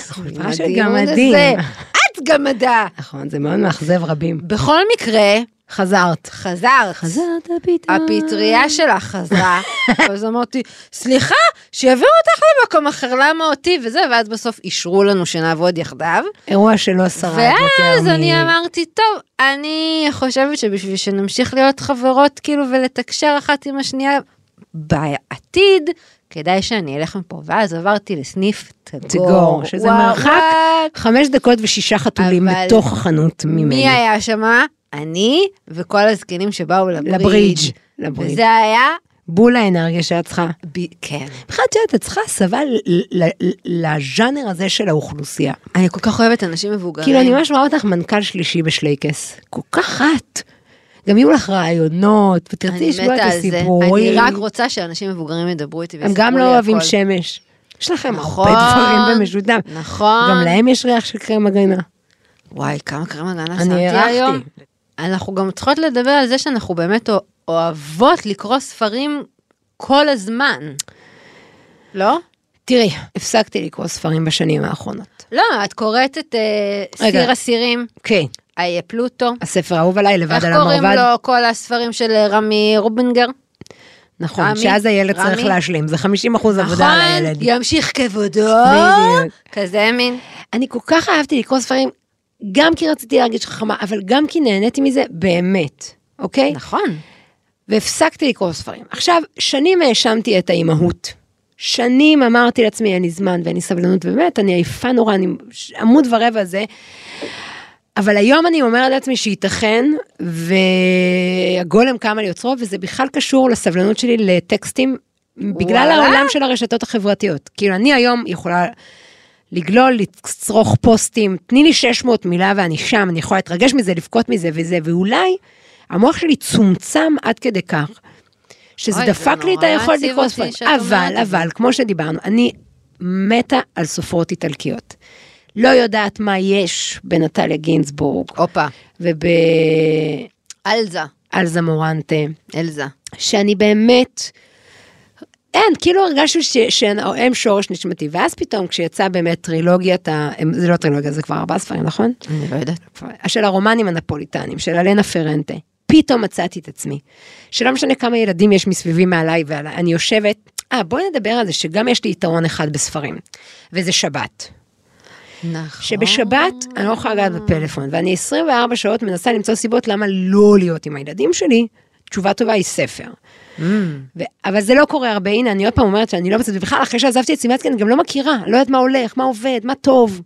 Speaker 2: חולפה של
Speaker 3: מדהים
Speaker 2: גמדים.
Speaker 3: הזה. את גמדה.
Speaker 2: נכון, זה מאוד מאכזב רבים.
Speaker 3: בכל מקרה,
Speaker 2: חזרת.
Speaker 3: חזרת.
Speaker 2: חזרת פתאום.
Speaker 3: הפטריה שלך חזרה, אז אמרתי, סליחה, שיעבירו אותך למקום אחר, למה אותי וזה, ואז בסוף אישרו לנו שנעבוד יחדיו.
Speaker 2: אירוע שלא שרד יותר
Speaker 3: ואז
Speaker 2: מ...
Speaker 3: אני אמרתי, טוב, אני חושבת שבשביל שנמשיך להיות חברות, כאילו, ולתקשר אחת עם השנייה בעתיד, כדאי שאני אלך מפה. ואז עברתי לסניף
Speaker 2: תגור,
Speaker 3: תגור.
Speaker 2: שזה
Speaker 3: וואו,
Speaker 2: מרחק
Speaker 3: וואו.
Speaker 2: חמש דקות ושישה חתולים
Speaker 3: אבל-
Speaker 2: בתוך החנות ממני.
Speaker 3: מי היה שמה? אני וכל הזקנים שבאו לברידג'.
Speaker 2: לברידג'. לברידג'.
Speaker 3: וזה היה...
Speaker 2: בול האנרגיה שאת צריכה.
Speaker 3: ב- כן.
Speaker 2: בכלל, את יודעת, את צריכה הסבה ל- ל- ל- לז'אנר הזה של האוכלוסייה.
Speaker 3: אני כל כך אוהבת אנשים מבוגרים.
Speaker 2: כאילו, אני ממש רואה אותך מנכ"ל שלישי בשלייקס. כל כך את. גם יהיו לך רעיונות, ותרצי
Speaker 3: אני
Speaker 2: לשמוע את
Speaker 3: מתה על זה.
Speaker 2: הסיפורים.
Speaker 3: אני רק רוצה שאנשים מבוגרים ידברו איתי
Speaker 2: הם
Speaker 3: ויספרו לי
Speaker 2: גם לא אוהבים
Speaker 3: הכל.
Speaker 2: שמש. יש לכם
Speaker 3: נכון,
Speaker 2: הרבה דברים במשותף.
Speaker 3: נכון.
Speaker 2: גם להם יש ריח של קרם הגנה.
Speaker 3: וואי, כמה קרם הגנה
Speaker 2: אני
Speaker 3: שמתי
Speaker 2: הערכתי.
Speaker 3: היום. אנחנו גם צריכות לדבר על זה שאנחנו באמת אוה- אוהבות לקרוא ספרים כל הזמן. לא?
Speaker 2: תראי, הפסקתי לקרוא ספרים בשנים האחרונות.
Speaker 3: לא, את קוראת את אה,
Speaker 2: רגע.
Speaker 3: סיר אסירים,
Speaker 2: כן,
Speaker 3: איי פלוטו.
Speaker 2: הספר האהוב עליי, לבד
Speaker 3: איך
Speaker 2: על
Speaker 3: קוראים
Speaker 2: המרבד.
Speaker 3: לו כל הספרים של אה, רמי רובינגר?
Speaker 2: נכון,
Speaker 3: רמי?
Speaker 2: שאז הילד
Speaker 3: רמי?
Speaker 2: צריך להשלים, זה 50 אחוז
Speaker 3: נכון?
Speaker 2: עבודה על הילד.
Speaker 3: ימשיך כבודו.
Speaker 2: בדיוק.
Speaker 3: כזה מין.
Speaker 2: אני כל כך אהבתי לקרוא ספרים, גם כי רציתי להרגיש חכמה, אבל גם כי נהניתי מזה באמת, אוקיי?
Speaker 3: נכון.
Speaker 2: והפסקתי לקרוא ספרים. עכשיו, שנים האשמתי את האימהות. שנים אמרתי לעצמי, אין לי זמן ואין לי סבלנות, ובאמת, אני עייפה נורא, אני ש- עמוד ורבע זה. אבל היום אני אומרת לעצמי שייתכן, והגולם קם על יוצרו, וזה בכלל קשור לסבלנות שלי לטקסטים, בגלל
Speaker 3: וואלה.
Speaker 2: העולם של הרשתות החברתיות. כאילו, אני היום יכולה לגלול, לצרוך פוסטים, תני לי 600 מילה ואני שם, אני יכולה להתרגש מזה, לבכות מזה וזה, ואולי המוח שלי צומצם עד כדי כך, שזה
Speaker 3: אוי, זה
Speaker 2: דפק לי את
Speaker 3: נורא
Speaker 2: היכולת
Speaker 3: מעציב
Speaker 2: לקרוא
Speaker 3: אותי
Speaker 2: ספרים.
Speaker 3: שאת
Speaker 2: אבל,
Speaker 3: אומרת את זה.
Speaker 2: אבל, כמו שדיברנו, אני מתה על סופרות איטלקיות. לא יודעת מה יש בנטליה גינזבורג
Speaker 3: הופה,
Speaker 2: ובאלזה
Speaker 3: אלזה,
Speaker 2: מורנטה.
Speaker 3: אלזה.
Speaker 2: שאני באמת, אין, כאילו הרגשנו ש- שהם שורש נשמתי, ואז פתאום כשיצא באמת טרילוגיית, ה... הם- זה לא טרילוגיה, זה כבר ארבעה ספרים, נכון?
Speaker 3: אני לא יודעת.
Speaker 2: של הרומנים הנפוליטנים, של אלנה פרנטה. פתאום מצאתי את עצמי, שלא משנה כמה ילדים יש מסביבי מעליי ועליי, אני יושבת, אה, בואי נדבר על זה שגם יש לי יתרון אחד בספרים, וזה שבת.
Speaker 3: נכון.
Speaker 2: שבשבת אני לא יכולה לגעת בפלאפון, ואני 24 שעות מנסה למצוא סיבות למה לא להיות עם הילדים שלי, תשובה טובה היא ספר.
Speaker 3: Mm.
Speaker 2: ו- אבל זה לא קורה הרבה, הנה, אני עוד פעם אומרת שאני לא מצליחה, בכלל, אחרי שעזבתי את סימצקי, אני גם לא מכירה, לא יודעת מה הולך, מה עובד, מה טוב.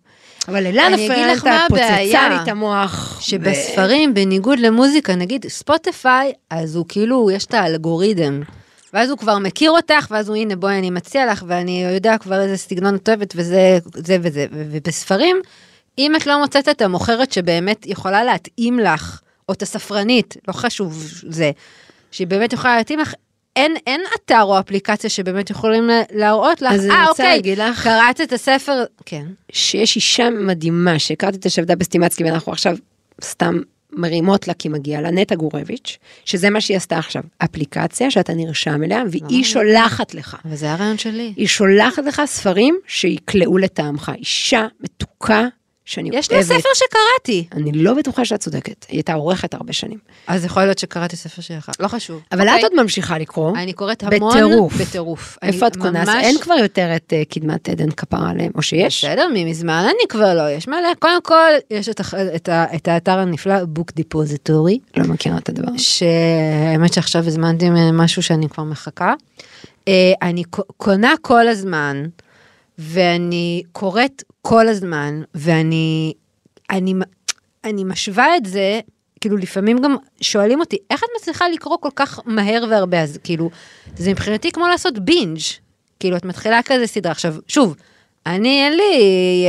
Speaker 2: אבל אלנה
Speaker 3: אני אגיד לך מה
Speaker 2: פרנטה פוצצה
Speaker 3: הבעיה.
Speaker 2: לי את המוח. ו-
Speaker 3: שבספרים, בניגוד למוזיקה, נגיד ספוטיפיי, אז הוא כאילו, יש את האלגוריתם. ואז הוא כבר מכיר אותך, ואז הוא, הנה, בואי, אני מציע לך, ואני יודע כבר איזה סגנון את אוהבת, וזה זה וזה. ו- ובספרים, אם את לא מוצאת את המוכרת שבאמת יכולה להתאים לך, או את הספרנית, לא חשוב זה, שהיא באמת יכולה להתאים לך, אין, אין אתר או אפליקציה שבאמת יכולים לה- להראות לך,
Speaker 2: אז אני
Speaker 3: אה,
Speaker 2: רוצה
Speaker 3: אוקיי,
Speaker 2: להגיד לך-
Speaker 3: קראת את הספר, כן.
Speaker 2: שיש אישה מדהימה שהכרתי את השבדה בסטימצקי ואנחנו עכשיו סתם מרימות לה כי מגיע לה, נטע גורביץ', שזה מה שהיא עשתה עכשיו, אפליקציה שאתה נרשם אליה והיא שולחת לך.
Speaker 3: אבל זה הרעיון שלי.
Speaker 2: היא שולחת לך ספרים שיקלעו לטעמך, אישה מתוקה שאני אוהבת.
Speaker 3: יש לי ספר שקראתי.
Speaker 2: אני לא בטוחה שאת צודקת, היא הייתה עורכת הרבה שנים.
Speaker 3: אז יכול להיות שקראתי ספר שלך, לא חשוב.
Speaker 2: אבל
Speaker 3: אוקיי?
Speaker 2: את עוד ממשיכה לקרוא.
Speaker 3: אני קוראת המון
Speaker 2: בטירוף.
Speaker 3: בטירוף.
Speaker 2: איפה
Speaker 3: אני
Speaker 2: את קונה?
Speaker 3: ממש-
Speaker 2: אין כבר יותר את אה, קדמת עדן כפרה עליהם, או שיש?
Speaker 3: בסדר, מזמן אני כבר לא, יש מלא. קודם כל, יש את, הח- את, ה- את האתר הנפלא, בוק דיפוזיטורי,
Speaker 2: לא מכירה את הדבר. הזה.
Speaker 3: שהאמת שעכשיו הזמנתי ממנו משהו שאני כבר מחכה. אה, אני ק- קונה כל הזמן, ואני קוראת כל הזמן, ואני אני, לא מ- אני משווה את זה, כאילו לפעמים גם שואלים אותי, איך את מצליחה לקרוא כל כך מהר והרבה? אז כאילו, זה מבחינתי כמו לעשות בינג'. כאילו, את מתחילה כזה סדרה. עכשיו, שוב, אני אין לי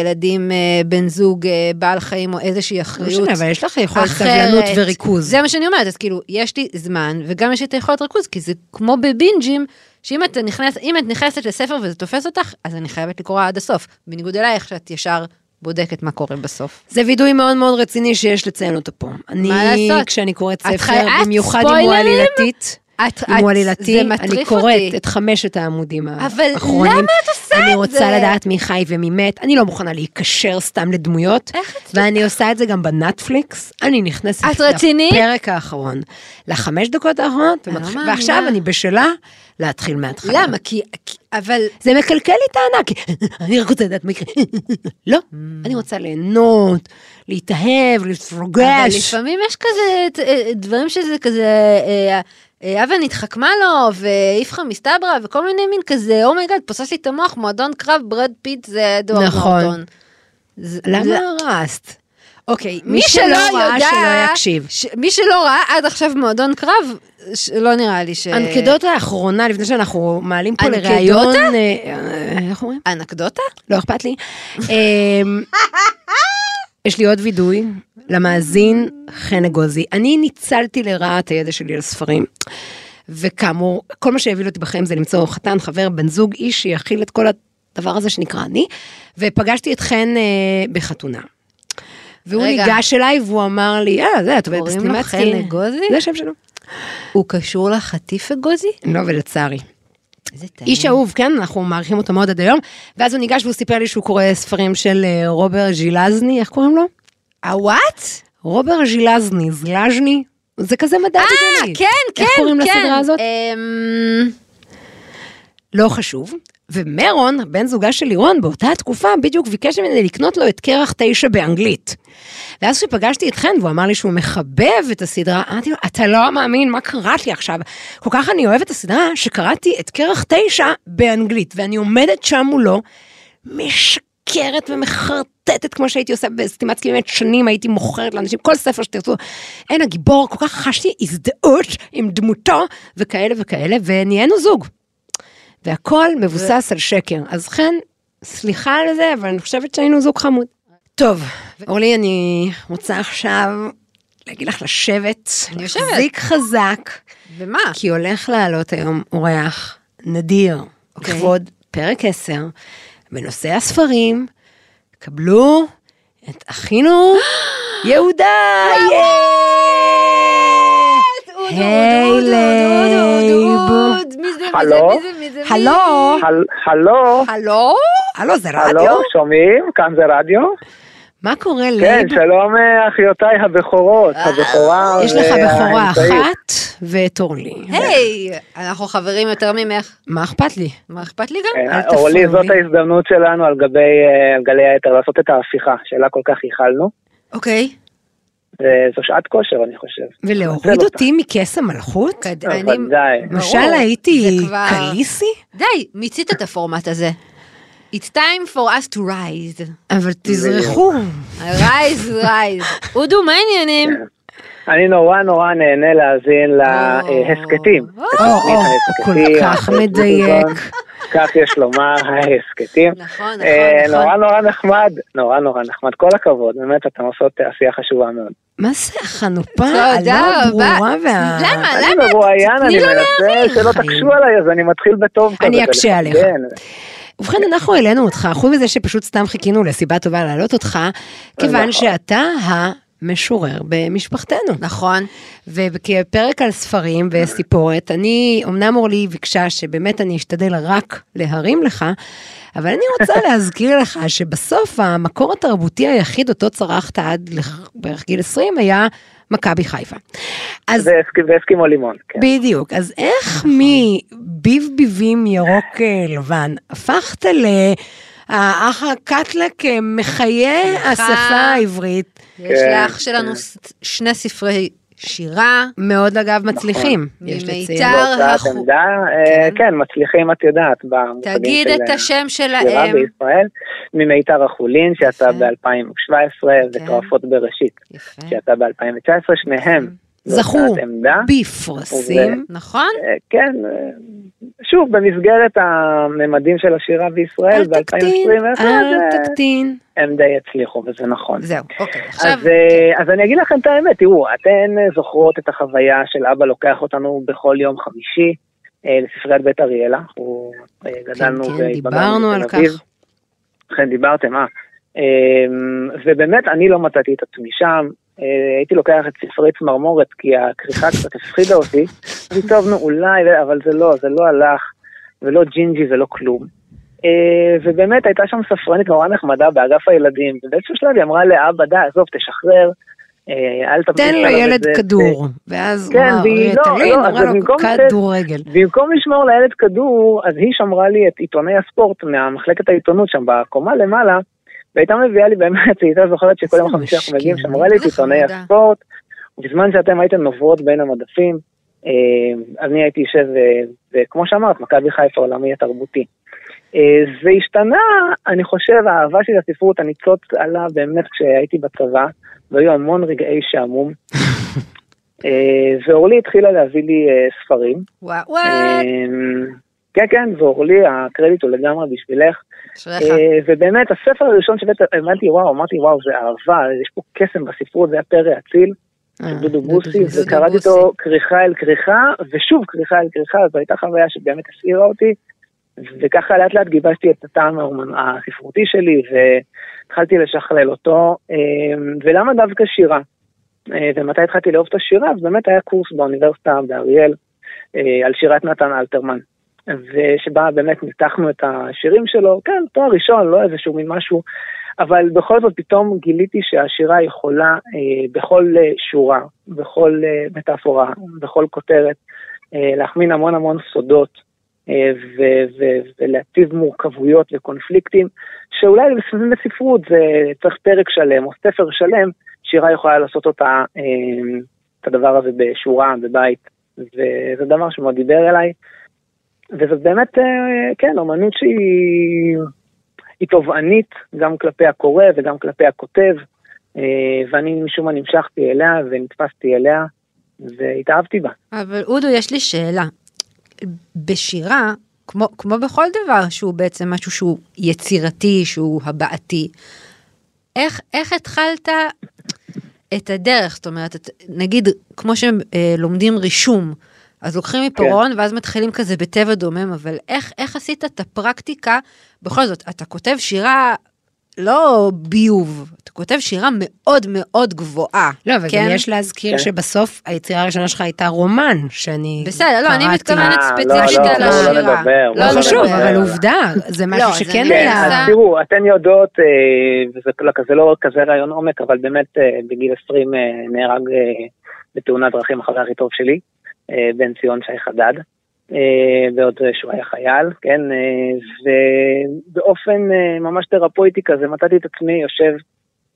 Speaker 3: ילדים, אה, בן זוג, אה, בעל חיים או איזושהי
Speaker 2: לא
Speaker 3: אחריות.
Speaker 2: משנה, אבל יש לך יכולת
Speaker 3: אחרת.
Speaker 2: סבלנות וריכוז.
Speaker 3: זה מה שאני אומרת, אז כאילו, יש לי זמן, וגם יש לי את היכולת ריכוז, כי זה כמו בבינג'ים, שאם את, נכנס, אם את נכנסת לספר וזה תופס אותך, אז אני חייבת לקרוא עד הסוף. בניגוד אלייך, שאת ישר בודקת מה קורה בסוף.
Speaker 2: זה וידוי מאוד מאוד רציני שיש לציין אותו פה. אני,
Speaker 3: לעשות?
Speaker 2: כשאני קוראת
Speaker 3: את
Speaker 2: ספר,
Speaker 3: חי- את
Speaker 2: במיוחד אם הוא
Speaker 3: ספוילרים?
Speaker 2: עלילתית,
Speaker 3: את,
Speaker 2: אם הוא עלילתי,
Speaker 3: זה מטריף
Speaker 2: אני קוראת
Speaker 3: אותי.
Speaker 2: את חמשת העמודים
Speaker 3: אבל
Speaker 2: האחרונים.
Speaker 3: למה את עושה את
Speaker 2: אני
Speaker 3: זה?
Speaker 2: רוצה לדעת מי חי ומי מת, אני לא מוכנה להיקשר סתם לדמויות,
Speaker 3: איך את-
Speaker 2: ואני עושה את זה גם בנטפליקס, אני נכנסת
Speaker 3: את רצינית?
Speaker 2: לפרק האחרון, לחמש דקות האחרונות,
Speaker 3: לא
Speaker 2: ומתח-
Speaker 3: מאמינה.
Speaker 2: ועכשיו אני בשלה להתחיל מההתחלה.
Speaker 3: למה? כי, כי, אבל...
Speaker 2: זה מקלקל לי את הענק, כי אני רק רוצה לדעת מה יקרה. לא, אני רוצה ליהנות, להתאהב,
Speaker 3: אבל
Speaker 2: להתרגש.
Speaker 3: לפעמים יש כזה ת- אה, דברים שזה כזה, אה, אה, אבן התחכמה לו, ואיפכא מסתברא, וכל מיני מין כזה, אומייגאד, פוצץ לי את המוח, מועדון קרב, ברד פיט זה דואר
Speaker 2: נכון.
Speaker 3: נורטון. זה-
Speaker 2: למה
Speaker 3: זה-
Speaker 2: הרסת? אוקיי,
Speaker 3: מי שלא
Speaker 2: ראה,
Speaker 3: יודע,
Speaker 2: שלא יקשיב.
Speaker 3: ש... מי שלא ראה עד עכשיו מועדון קרב, ש... לא נראה לי ש...
Speaker 2: אנקדוטה האחרונה, לפני שאנחנו מעלים פה
Speaker 3: אנקדוטה?
Speaker 2: לראיון... אה, אה, איך אומרים?
Speaker 3: אנקדוטה?
Speaker 2: לא אכפת לי. אמ, יש לי עוד וידוי למאזין חן אגוזי. אני ניצלתי לרעה את הידע שלי על ספרים. וכאמור, כל מה שהביא אותי בחיים זה למצוא חתן, חבר, בן זוג, איש שיכיל את כל הדבר הזה שנקרא אני. ופגשתי את חן אה, בחתונה. והוא
Speaker 3: רגע.
Speaker 2: ניגש אליי והוא אמר לי, אה, זה, את עובדת
Speaker 3: קוראים לו
Speaker 2: בסטימצקי.
Speaker 3: חן אגוזי?
Speaker 2: זה השם שלו.
Speaker 3: הוא קשור לחטיף אגוזי?
Speaker 2: לא, ולצערי.
Speaker 3: איזה טעים.
Speaker 2: איש אהוב, כן, אנחנו מעריכים אותו מאוד עד היום. ואז הוא ניגש והוא סיפר לי שהוא קורא ספרים של אה, רובר ז'ילזני, איך קוראים לו?
Speaker 3: הוואט?
Speaker 2: רובר ז'ילזני, זלז'ני, זה כזה מדע
Speaker 3: אה,
Speaker 2: בדיוני.
Speaker 3: כן, כן,
Speaker 2: איך קוראים
Speaker 3: כן.
Speaker 2: לסדרה הזאת?
Speaker 3: אמ,
Speaker 2: לא חשוב. ומרון, בן זוגה של לירון, באותה התקופה בדיוק ביקש ממני לקנות לו את קרח תשע באנגלית. ואז כשפגשתי את חן והוא אמר לי שהוא מחבב את הסדרה, אמרתי לו, אתה לא מאמין, מה קראת לי עכשיו? כל כך אני אוהבת את הסדרה, שקראתי את קרח תשע באנגלית, ואני עומדת שם מולו, משקרת ומחרטטת כמו שהייתי עושה בסטימצקי באמת שנים, הייתי מוכרת לאנשים כל ספר שתרצו. אין הגיבור, כל כך חשתי הזדהות עם דמותו, וכאלה וכאלה, ונהיינו זוג. והכל מבוסס על שקר. אז חן סליחה על זה, אבל אני חושבת שהיינו זוג חמוד. טוב, אורלי, אני רוצה עכשיו להגיד לך לשבת, אה.
Speaker 3: אני יושבת.
Speaker 2: להחזיק חזק,
Speaker 3: ומה?
Speaker 2: כי הולך לעלות היום אורח נדיר,
Speaker 3: אוקיי.
Speaker 2: לכבוד פרק 10, בנושא הספרים. קבלו את אחינו יהודה!
Speaker 3: אודו,
Speaker 2: היי,
Speaker 3: אודו, אודו, אודו, אודו, מי זה, מי זה,
Speaker 6: הלו?
Speaker 3: מי זה, מי זה, מי?
Speaker 2: הלו?
Speaker 6: הל- הלו,
Speaker 2: הלו? הלו, זה רדיו?
Speaker 6: הלו, שומעים? כאן זה רדיו?
Speaker 2: מה קורה
Speaker 6: כן,
Speaker 2: לייב?
Speaker 6: שלום אה, אחיותיי הבכורות, הבכורה.
Speaker 2: אה,
Speaker 6: אה,
Speaker 2: יש לך בכורה
Speaker 6: והאמצעית.
Speaker 2: אחת ואת אורלי.
Speaker 3: היי, אנחנו חברים יותר ממך.
Speaker 2: מה אכפת לי?
Speaker 3: מה אכפת לי גם?
Speaker 6: אה,
Speaker 2: אל תפריעו
Speaker 6: אורלי,
Speaker 2: לי.
Speaker 6: זאת ההזדמנות שלנו על גבי אה, גלי היתר, לעשות את ההפיכה, שאלה כל כך ייחלנו.
Speaker 3: אוקיי.
Speaker 6: וזו שעת כושר, אני חושב.
Speaker 2: ולהוריד
Speaker 6: אותה.
Speaker 2: אותי מכס המלכות?
Speaker 6: לא,
Speaker 3: אני-
Speaker 6: בוודאי.
Speaker 2: משל
Speaker 3: ברור,
Speaker 2: הייתי
Speaker 3: זה כבר-
Speaker 2: קליסי?
Speaker 3: די, מיצית את הפורמט הזה. It's time for us to rise.
Speaker 2: אבל תזרחו.
Speaker 3: rise, rise. אודו, מה העניינים?
Speaker 6: כן. אני נורא נורא נהנה להאזין להסכתים.
Speaker 3: או,
Speaker 2: או, או, כל כך מדייק.
Speaker 6: נכון. כך יש לומר, ההסכתים.
Speaker 3: נכון, נכון,
Speaker 6: אה,
Speaker 3: נכון.
Speaker 6: נורא נורא נחמד, נורא נורא נחמד, כל הכבוד, באמת, אתן עושות אה, עשייה חשובה מאוד.
Speaker 2: מה זה החנופה הלא
Speaker 3: תודה רבה.
Speaker 2: ברורה וה...
Speaker 3: למה?
Speaker 6: אני
Speaker 3: למה?
Speaker 6: מרואיין,
Speaker 3: תתני
Speaker 6: אני
Speaker 3: לו
Speaker 6: מנסה
Speaker 2: חיים.
Speaker 6: שלא תקשו עליי, אז אני מתחיל בטוב כזה. כן,
Speaker 2: אני
Speaker 6: כדי
Speaker 2: אקשה עליך.
Speaker 6: לפרגן.
Speaker 2: ובכן, אנחנו העלינו אותך, חוץ מזה שפשוט סתם חיכינו לסיבה טובה להעלות אותך, כיוון
Speaker 6: נכון.
Speaker 2: שאתה המשורר במשפחתנו.
Speaker 3: נכון.
Speaker 2: וכפרק על ספרים וסיפורת, אני, אמנם אורלי ביקשה שבאמת אני אשתדל רק להרים לך, אבל אני רוצה להזכיר לך שבסוף המקור התרבותי היחיד אותו צרכת עד לכ- בערך גיל 20 היה מכבי חיפה. אז
Speaker 6: זה אסק- זה אסקימו לימון, כן.
Speaker 2: בדיוק, אז
Speaker 3: נכון.
Speaker 2: איך מביבביבים ירוק אה, לבן הפכת לאח הקטלק אה, מחיה השפה העברית,
Speaker 3: יש
Speaker 6: כן,
Speaker 3: לאח שלנו ס- שני ספרי שירה. נכון.
Speaker 2: מאוד אגב מצליחים,
Speaker 3: ממיתר.
Speaker 2: יש לציין.
Speaker 6: זו
Speaker 3: הר
Speaker 6: הצעת
Speaker 3: החו-
Speaker 6: עמדה, אה, כן, מצליחים, את יודעת, במושגים
Speaker 3: תגיד
Speaker 6: של,
Speaker 3: את
Speaker 6: אה,
Speaker 3: השם
Speaker 6: שירה
Speaker 3: שלהם.
Speaker 6: בישראל, ממיתר החולין, שיצא
Speaker 3: יפה.
Speaker 6: ב-2017,
Speaker 3: כן.
Speaker 6: וטועפות בראשית,
Speaker 3: יפה.
Speaker 6: שיצא ב-2019, שניהם. זו
Speaker 2: זכו
Speaker 6: הצעת עמדה.
Speaker 2: בפרסים.
Speaker 3: נכון?
Speaker 6: אה, כן, אה, שוב, במסגרת הממדים של השירה בישראל
Speaker 2: אל תקטין,
Speaker 6: אה, ב-2021, אה,
Speaker 2: אל תקטין.
Speaker 6: הם די הצליחו, וזה נכון.
Speaker 3: זהו, אוקיי. עכשיו,
Speaker 6: אז, אה,
Speaker 2: כן.
Speaker 6: אז אני אגיד לכם את האמת, תראו, אתן אה, זוכרות את החוויה של אבא לוקח אותנו בכל יום חמישי אה, לספריית בית אריאלה, אנחנו אה, גדלנו
Speaker 2: כן,
Speaker 6: והתבגרנו
Speaker 2: דיברנו
Speaker 6: בתל
Speaker 2: על
Speaker 6: אביב.
Speaker 2: כך.
Speaker 6: אכן דיברתם, אה. אמ, ובאמת, אני לא מצאתי את עצמי שם. אה, הייתי לוקח את ספרי צמרמורת, כי הכריכה קצת הפחידה אותי. אז טובנו אולי, אבל זה לא, זה לא הלך, ולא ג'ינג'י ולא כלום. אה, ובאמת, הייתה שם ספרנית נורא נחמדה באגף הילדים, ובאיזשהו שלב היא אמרה לאבא, די, עזוב, תשחרר, אה, אל תמשיך
Speaker 2: תן
Speaker 6: עליו את
Speaker 2: לילד
Speaker 6: זה."
Speaker 2: כדור, ואז הוא
Speaker 6: כן,
Speaker 2: אמר,
Speaker 6: והיא- לא,
Speaker 2: "ריטלין",
Speaker 6: לא,
Speaker 2: אמרה
Speaker 6: אז
Speaker 2: לו,
Speaker 6: במקום זה-
Speaker 2: כדורגל.
Speaker 6: במקום לשמור לילד כדור, אז היא שמרה לי את עיתוני הספורט מהמחלקת העיתונות שם בקומה למעלה, והייתה מביאה לי באמת, היא הייתה זוכרת שכל יום
Speaker 2: איזה
Speaker 6: חמישי אנחנו מגיעים,
Speaker 2: משקיעים,
Speaker 6: שמרה לי את
Speaker 3: איך
Speaker 6: עיתוני
Speaker 3: חמודה.
Speaker 6: הספורט, ובזמן שאתם הייתם נוברות בין המדפים, אה, אני הייתי יושב, אה, וכמו שאמרת, מכבי חיפה עולמי התרבותי. אה, זה השתנה, אני חושב, האהבה שלי לספרות, הניצוץ עלה באמת כשהייתי בצבא, והיו המון רגעי שעמום. אה, ואורלי התחילה להביא לי אה, ספרים.
Speaker 3: וואו, וואו,
Speaker 6: אמ, כן, כן, ואורלי, הקרדיט הוא לגמרי בשבילך.
Speaker 3: אשריך.
Speaker 6: אה, ובאמת, הספר הראשון שהבנתי, וואו, אמרתי, וואו, זה אהבה, יש פה קסם בספרות, זה היה פרא אציל,
Speaker 2: אה,
Speaker 6: של דודו בוסי,
Speaker 3: בוסי.
Speaker 6: וקראתי אותו כריכה אל כריכה, ושוב כריכה אל כריכה, זו הייתה חוויה שבאמת הסעירה אותי, וככה לאט לאט גיבשתי את הטעם האומן- הספרותי שלי, והתחלתי לשכלל אותו, אמ, ולמה דווקא שירה? אה, ומתי התחלתי לאהוב את השירה? אז באמת היה קורס באוניברסיטה באריאל, אה, על שירת נתן אלתרמן. ושבה באמת ניתחנו את השירים שלו, כן, תואר ראשון, לא איזשהו מין משהו, אבל בכל זאת פתאום גיליתי שהשירה יכולה אה, בכל אה, שורה, בכל אה, מטאפורה, בכל כותרת, אה, להחמין המון המון סודות אה, ו- ו- ולהציב מורכבויות וקונפליקטים, שאולי בספרות זה צריך פרק שלם או ספר שלם, שירה יכולה לעשות אותה, אה, את הדבר הזה בשורה, בבית, וזה דבר שמאוד דיבר אליי. וזאת באמת, אה, כן, אומנות שהיא היא תובענית גם כלפי הקורא וגם כלפי הכותב, אה, ואני משום מה נמשכתי אליה ונתפסתי אליה, והתאהבתי בה.
Speaker 3: אבל אודו, יש לי שאלה. בשירה, כמו, כמו בכל דבר שהוא בעצם משהו שהוא יצירתי, שהוא הבעתי, איך, איך התחלת את הדרך? זאת אומרת, את, נגיד, כמו שלומדים רישום, אז לוקחים עיפרון כן. ואז מתחילים כזה בטבע דומם, אבל איך, איך עשית את הפרקטיקה? בכל זאת, אתה כותב שירה לא ביוב, אתה כותב שירה מאוד מאוד גבוהה.
Speaker 2: לא, אבל
Speaker 3: כן?
Speaker 2: גם יש להזכיר שבסוף היצירה הראשונה שלך הייתה רומן, שאני
Speaker 3: בסדר, לא, אני
Speaker 2: קראתי.
Speaker 3: מתכוונת
Speaker 6: אה, לא,
Speaker 3: ספציפית
Speaker 2: לא,
Speaker 3: על
Speaker 2: לא, לא
Speaker 3: השירה.
Speaker 6: לדבר,
Speaker 2: לא
Speaker 6: לא
Speaker 2: חשוב,
Speaker 6: לדבר.
Speaker 2: אבל עובדה, זה משהו
Speaker 3: לא, זה
Speaker 2: שכן
Speaker 3: נעשה.
Speaker 6: כן,
Speaker 2: היה...
Speaker 3: אה,
Speaker 6: אז תראו, אתן יודעות, אה, וזה לא כזה, לא כזה רעיון עומק, אבל באמת אה, בגיל 20 אה, נהרג אה, בתאונת דרכים החבר הכי טוב שלי, אה, בן ציון שי חדד, אה, בעוד אה, שהוא היה חייל, כן, אה, ובאופן אה, ממש תרפויטי כזה מצאתי את עצמי יושב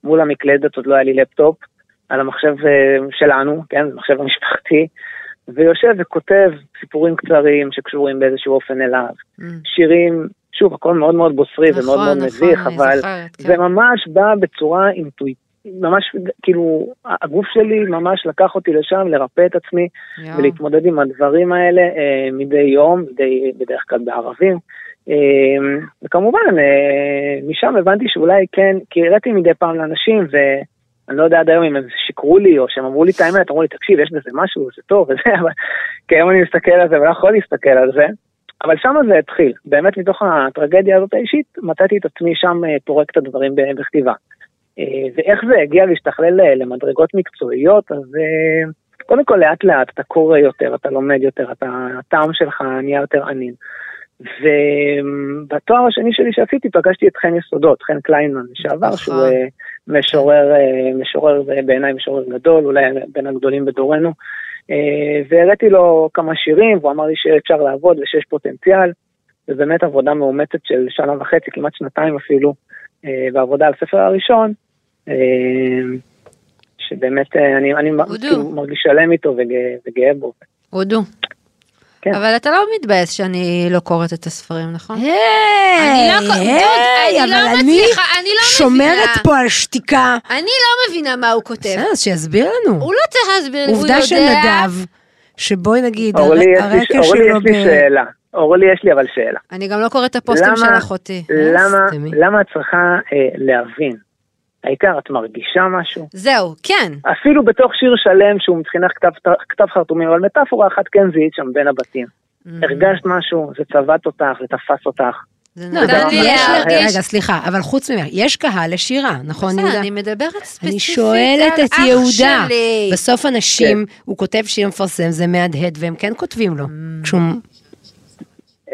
Speaker 6: מול המקלדת, עוד לא היה לי לפטופ, על המחשב אה, שלנו, כן, זה מחשב המשפחתי, ויושב וכותב סיפורים קצרים שקשורים באיזשהו אופן אליו.
Speaker 3: Mm.
Speaker 6: שירים, שוב, הכל מאוד מאוד בוסרי
Speaker 3: נכון,
Speaker 6: ומאוד מאוד
Speaker 3: נכון,
Speaker 6: מביך,
Speaker 3: אני
Speaker 6: אבל
Speaker 3: זוכרת, כן.
Speaker 6: זה ממש בא בצורה אינטואיטית. ממש, כאילו, הגוף שלי ממש לקח אותי לשם לרפא את עצמי
Speaker 3: יואו.
Speaker 6: ולהתמודד עם הדברים האלה אה, מדי יום, מדי, בדרך כלל בערבים. אה, וכמובן, אה, משם הבנתי שאולי כן, כי הראיתי מדי פעם לאנשים, ואני לא יודע עד היום אם הם שיקרו לי או שהם אמרו לי את האמת, אמרו לי, תקשיב, יש בזה משהו, זה טוב וזה, אבל כי היום אני מסתכל על זה ולא יכול להסתכל על זה. אבל שם זה התחיל, באמת מתוך הטרגדיה הזאת האישית, מצאתי את עצמי שם אה, פורק את הדברים ב- בכתיבה. אה, ואיך זה הגיע להשתכלל אה, למדרגות מקצועיות, אז אה, קודם כל לאט לאט אתה קורא יותר, אתה לומד יותר, אתה, הטעם שלך נהיה יותר ענין. ובתואר השני שלי שעשיתי פגשתי את חן יסודות, חן קליינמן לשעבר,
Speaker 3: נכון.
Speaker 6: שהוא אה, משורר, אה, משורר אה, בעיניי משורר גדול, אולי בין הגדולים בדורנו. אה, והראיתי לו כמה שירים, והוא אמר לי שאפשר לעבוד ושיש פוטנציאל. ובאמת עבודה מאומצת של שנה וחצי, כמעט שנתיים אפילו, אה, בעבודה על הספר הראשון, אה, שבאמת אה, אני, אני מ-
Speaker 3: הודו.
Speaker 6: כאילו מרגיש שלם איתו וגאה, וגאה בו.
Speaker 3: הודו.
Speaker 6: כן.
Speaker 3: אבל אתה לא מתבאס שאני לא קוראת את הספרים, נכון?
Speaker 2: היי,
Speaker 3: אני לא- דוד,
Speaker 2: היי,
Speaker 3: אני לא
Speaker 2: אבל
Speaker 3: מצליחה, אני לא
Speaker 2: שומרת
Speaker 3: מבינה.
Speaker 2: פה על שתיקה.
Speaker 3: אני לא מבינה מה הוא כותב.
Speaker 2: בסדר, אז שיסביר לנו.
Speaker 3: הוא לא צריך להסביר לי, הוא יודע.
Speaker 2: עובדה של נדב, שבואי נגיד,
Speaker 6: אורלי, יש לי,
Speaker 2: הרקע
Speaker 6: אורלי,
Speaker 2: שלו
Speaker 6: יש לי שאלה. אורלי, יש לי אבל שאלה.
Speaker 3: אני גם לא קוראת את הפוסטים
Speaker 6: למה-
Speaker 3: של אחותי.
Speaker 6: למה,
Speaker 2: סתמי.
Speaker 6: למה את צריכה אה, להבין? העיקר, את מרגישה משהו?
Speaker 3: זהו, כן.
Speaker 6: אפילו בתוך שיר שלם שהוא מבחינת כתב, כתב חרטומים, אבל מטאפורה אחת כן זיהית שם בין הבתים.
Speaker 3: Mm-hmm.
Speaker 6: הרגשת משהו, זה צבט אותך, זה תפס אותך.
Speaker 3: זה
Speaker 2: לא,
Speaker 3: נתן
Speaker 2: אבל
Speaker 3: לי
Speaker 6: יש
Speaker 2: יש לה-
Speaker 6: להרגיש-
Speaker 3: להרגיש.
Speaker 2: רגע, סליחה, אבל חוץ ממך, יש קהל לשירה, נכון,
Speaker 3: בסדר,
Speaker 2: יהודה?
Speaker 3: אני מדברת ספציפית
Speaker 2: אני שואלת
Speaker 3: על
Speaker 2: את
Speaker 3: אח
Speaker 2: יהודה.
Speaker 3: שלי.
Speaker 2: בסוף אנשים, הוא כותב שיר מפרסם, זה מהדהד, והם כן כותבים לו.
Speaker 3: Mm.
Speaker 2: כשהוא...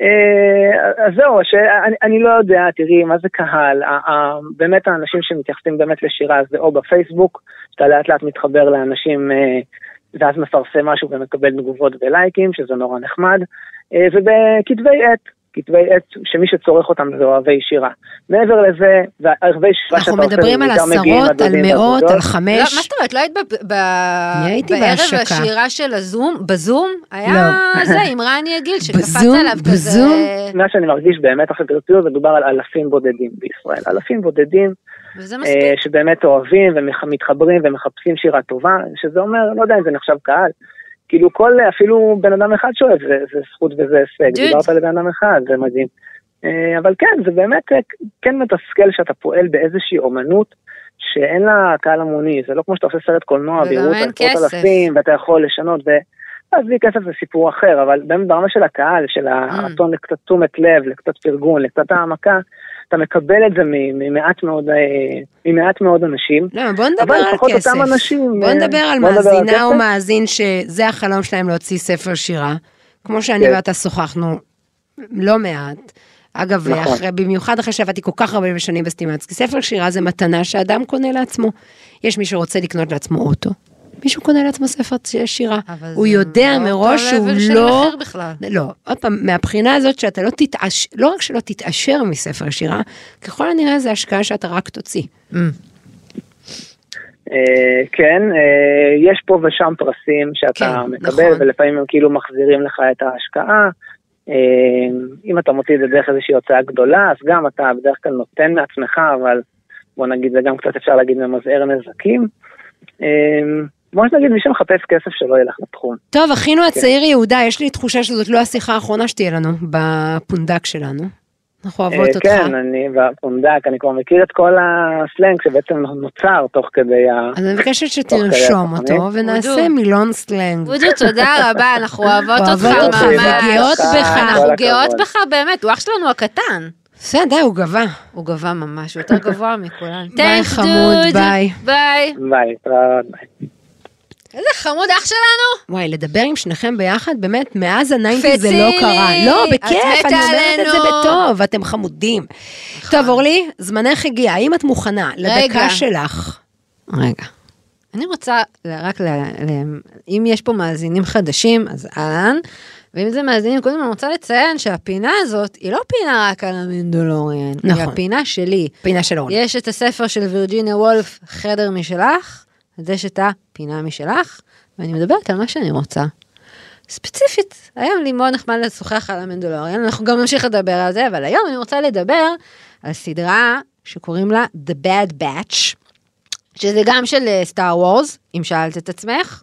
Speaker 6: אה, אז זהו, ש... אני, אני לא יודע, תראי, מה זה קהל, ה- ה- באמת האנשים שמתייחסים באמת לשירה זה או בפייסבוק, שאתה לאט לאט מתחבר לאנשים אה, ואז מפרסם משהו ומקבל תגובות ולייקים, שזה נורא נחמד, אה, ובכתבי עת, כתבי עת שמי שצורך אותם זה אוהבי שירה. מעבר לזה, והערבי שירה
Speaker 2: אנחנו
Speaker 6: שאתה עושה,
Speaker 2: מדברים
Speaker 6: זה
Speaker 2: על
Speaker 6: בעיקר מגיעים
Speaker 2: עשרות, על
Speaker 6: לדודים
Speaker 2: מאות,
Speaker 6: והדודות.
Speaker 2: על
Speaker 3: לא, מה
Speaker 2: חמש.
Speaker 3: זאת אומרת, לא היית ב- ב-
Speaker 2: הייתי
Speaker 3: בערב
Speaker 2: בהשקה.
Speaker 3: השירה של הזום? בזום? היה
Speaker 2: לא.
Speaker 3: זה עם רני עגיל שקפץ
Speaker 2: בזום?
Speaker 3: עליו כזה.
Speaker 2: בזום?
Speaker 6: מה שאני מרגיש באמת אחרי ברצינות, מדובר על אלפים בודדים בישראל. אלפים בודדים
Speaker 3: וזה
Speaker 6: אה,
Speaker 3: מספיק.
Speaker 6: שבאמת אוהבים ומתחברים ומחפשים שירה טובה, שזה אומר, לא יודע אם זה נחשב קהל. כאילו כל, אפילו בן אדם אחד שאוהב, זה, זה זכות וזה הישג.
Speaker 3: דוד.
Speaker 6: דיברת על בן אדם אחד, זה מדהים. אה, אבל כן, זה באמת אה, כן מתסכל שאתה פועל באיזושהי אומנות שאין לה קהל המוני, זה לא כמו שאתה עושה סרט קולנוע,
Speaker 3: וגם
Speaker 6: ויראו אותה
Speaker 3: אין
Speaker 6: עשרות
Speaker 3: כסף.
Speaker 6: אלפים, ואתה יכול לשנות, ו... עזבי כסף זה סיפור אחר, אבל באמת ברמה של הקהל,
Speaker 2: Mm.
Speaker 6: של הרצון לקצת תשומת לב, לקצת פרגון, לקצת העמקה, אתה מקבל את זה מ- ממעט מאוד, אה, ממעט מאוד אנשים.
Speaker 2: לא, בוא נדבר
Speaker 6: אבל
Speaker 2: על
Speaker 6: לפחות
Speaker 2: כסף.
Speaker 6: אותם אנשים,
Speaker 2: בוא
Speaker 6: אה,
Speaker 2: נדבר על
Speaker 6: בוא נדבר על
Speaker 2: מאזינה או
Speaker 6: כסף.
Speaker 2: מאזין שזה החלום שלהם להוציא ספר שירה. כמו שאני
Speaker 6: כן.
Speaker 2: ואתה שוחחנו לא מעט. אגב,
Speaker 6: נכון.
Speaker 2: אחרי, במיוחד אחרי שעבדתי כל כך הרבה שנים בסטימצקי, ספר שירה זה מתנה שאדם קונה לעצמו. יש מי שרוצה לקנות לעצמו אוטו, מישהו קונה לעצמו ספר שירה.
Speaker 3: אבל
Speaker 2: הוא
Speaker 3: זה
Speaker 2: יודע
Speaker 3: לא
Speaker 2: מראש
Speaker 3: אותו
Speaker 2: שהוא
Speaker 3: level של
Speaker 2: לא...
Speaker 3: מחיר בכלל.
Speaker 2: לא, עוד פעם, מהבחינה הזאת שאתה לא תתעש... לא רק שלא תתעשר מספר שירה, ככל הנראה זה השקעה שאתה רק תוציא.
Speaker 6: אה, כן, אה, יש פה ושם פרסים שאתה
Speaker 2: כן,
Speaker 6: מקבל,
Speaker 2: נכון.
Speaker 6: ולפעמים הם כאילו מחזירים לך את ההשקעה. אה, אם אתה מוציא את זה דרך איזושהי הוצאה גדולה, אז גם אתה בדרך כלל נותן מעצמך, אבל בוא נגיד, זה גם קצת אפשר להגיד ממזער נזקים. אה, כמו שנגיד, מי שמחפש כסף שלא ילך לתחום.
Speaker 2: טוב,
Speaker 6: כן.
Speaker 2: אחינו הצעיר יהודה, יש לי תחושה שזאת לא השיחה האחרונה שתהיה לנו בפונדק שלנו. אנחנו אוהבות
Speaker 6: אה,
Speaker 2: אותך.
Speaker 6: כן, אני בפונדק, אני כבר מכיר את כל הסלנג שבעצם נוצר תוך כדי ה...
Speaker 2: אז אני מבקשת
Speaker 6: אוקיי,
Speaker 2: שתרשום
Speaker 6: אנחנו
Speaker 2: אותו ונעשה מילון סלנג.
Speaker 3: דודו, תודה רבה, אנחנו אוהבות
Speaker 2: אוהבות
Speaker 3: אותך
Speaker 2: אותך
Speaker 3: ממש.
Speaker 2: וגאות בך.
Speaker 3: אנחנו
Speaker 6: כל הכבוד.
Speaker 3: גאות בך באמת, הוא אח שלנו הקטן.
Speaker 2: בסדר, די, הוא גבה.
Speaker 3: הוא גבוה ממש, הוא יותר גבוה מכולנו.
Speaker 2: ביי,
Speaker 3: Thanks,
Speaker 2: חמוד,
Speaker 3: דוד.
Speaker 2: ביי.
Speaker 3: ביי.
Speaker 6: ביי, להתראות, ביי.
Speaker 3: איזה חמוד אח שלנו.
Speaker 2: וואי, לדבר עם שניכם ביחד, באמת, מאז הניינטיז זה לא
Speaker 3: פציני!
Speaker 2: קרה. לא,
Speaker 3: את
Speaker 2: בכיף,
Speaker 3: מתה
Speaker 2: אני אומרת את זה
Speaker 3: עלינו.
Speaker 2: בטוב, אתם חמודים. טוב, אורלי, זמנך הגיע, האם את מוכנה לדקה
Speaker 3: נכון. רגע.
Speaker 2: שלך?
Speaker 3: רגע. אני רוצה ל- רק, ל- ל- אם יש פה מאזינים חדשים, אז אהלן. ואם זה מאזינים קודם, אני רוצה לציין שהפינה הזאת היא לא פינה רק על המנדלוריאן, היא
Speaker 2: נכון.
Speaker 3: הפינה שלי.
Speaker 2: פינה של אורלי.
Speaker 3: יש את הספר של וירג'יניה וולף, חדר משלך, אז יש את הפינה משלך, ואני מדברת על מה שאני רוצה. ספציפית, היום לי מאוד נחמד לשוחח על המנדלוריאן, אנחנו גם נמשיך לדבר על זה, אבל היום אני רוצה לדבר על סדרה שקוראים לה The Bad Batch, שזה גם של סטאר וורס, אם שאלת את עצמך.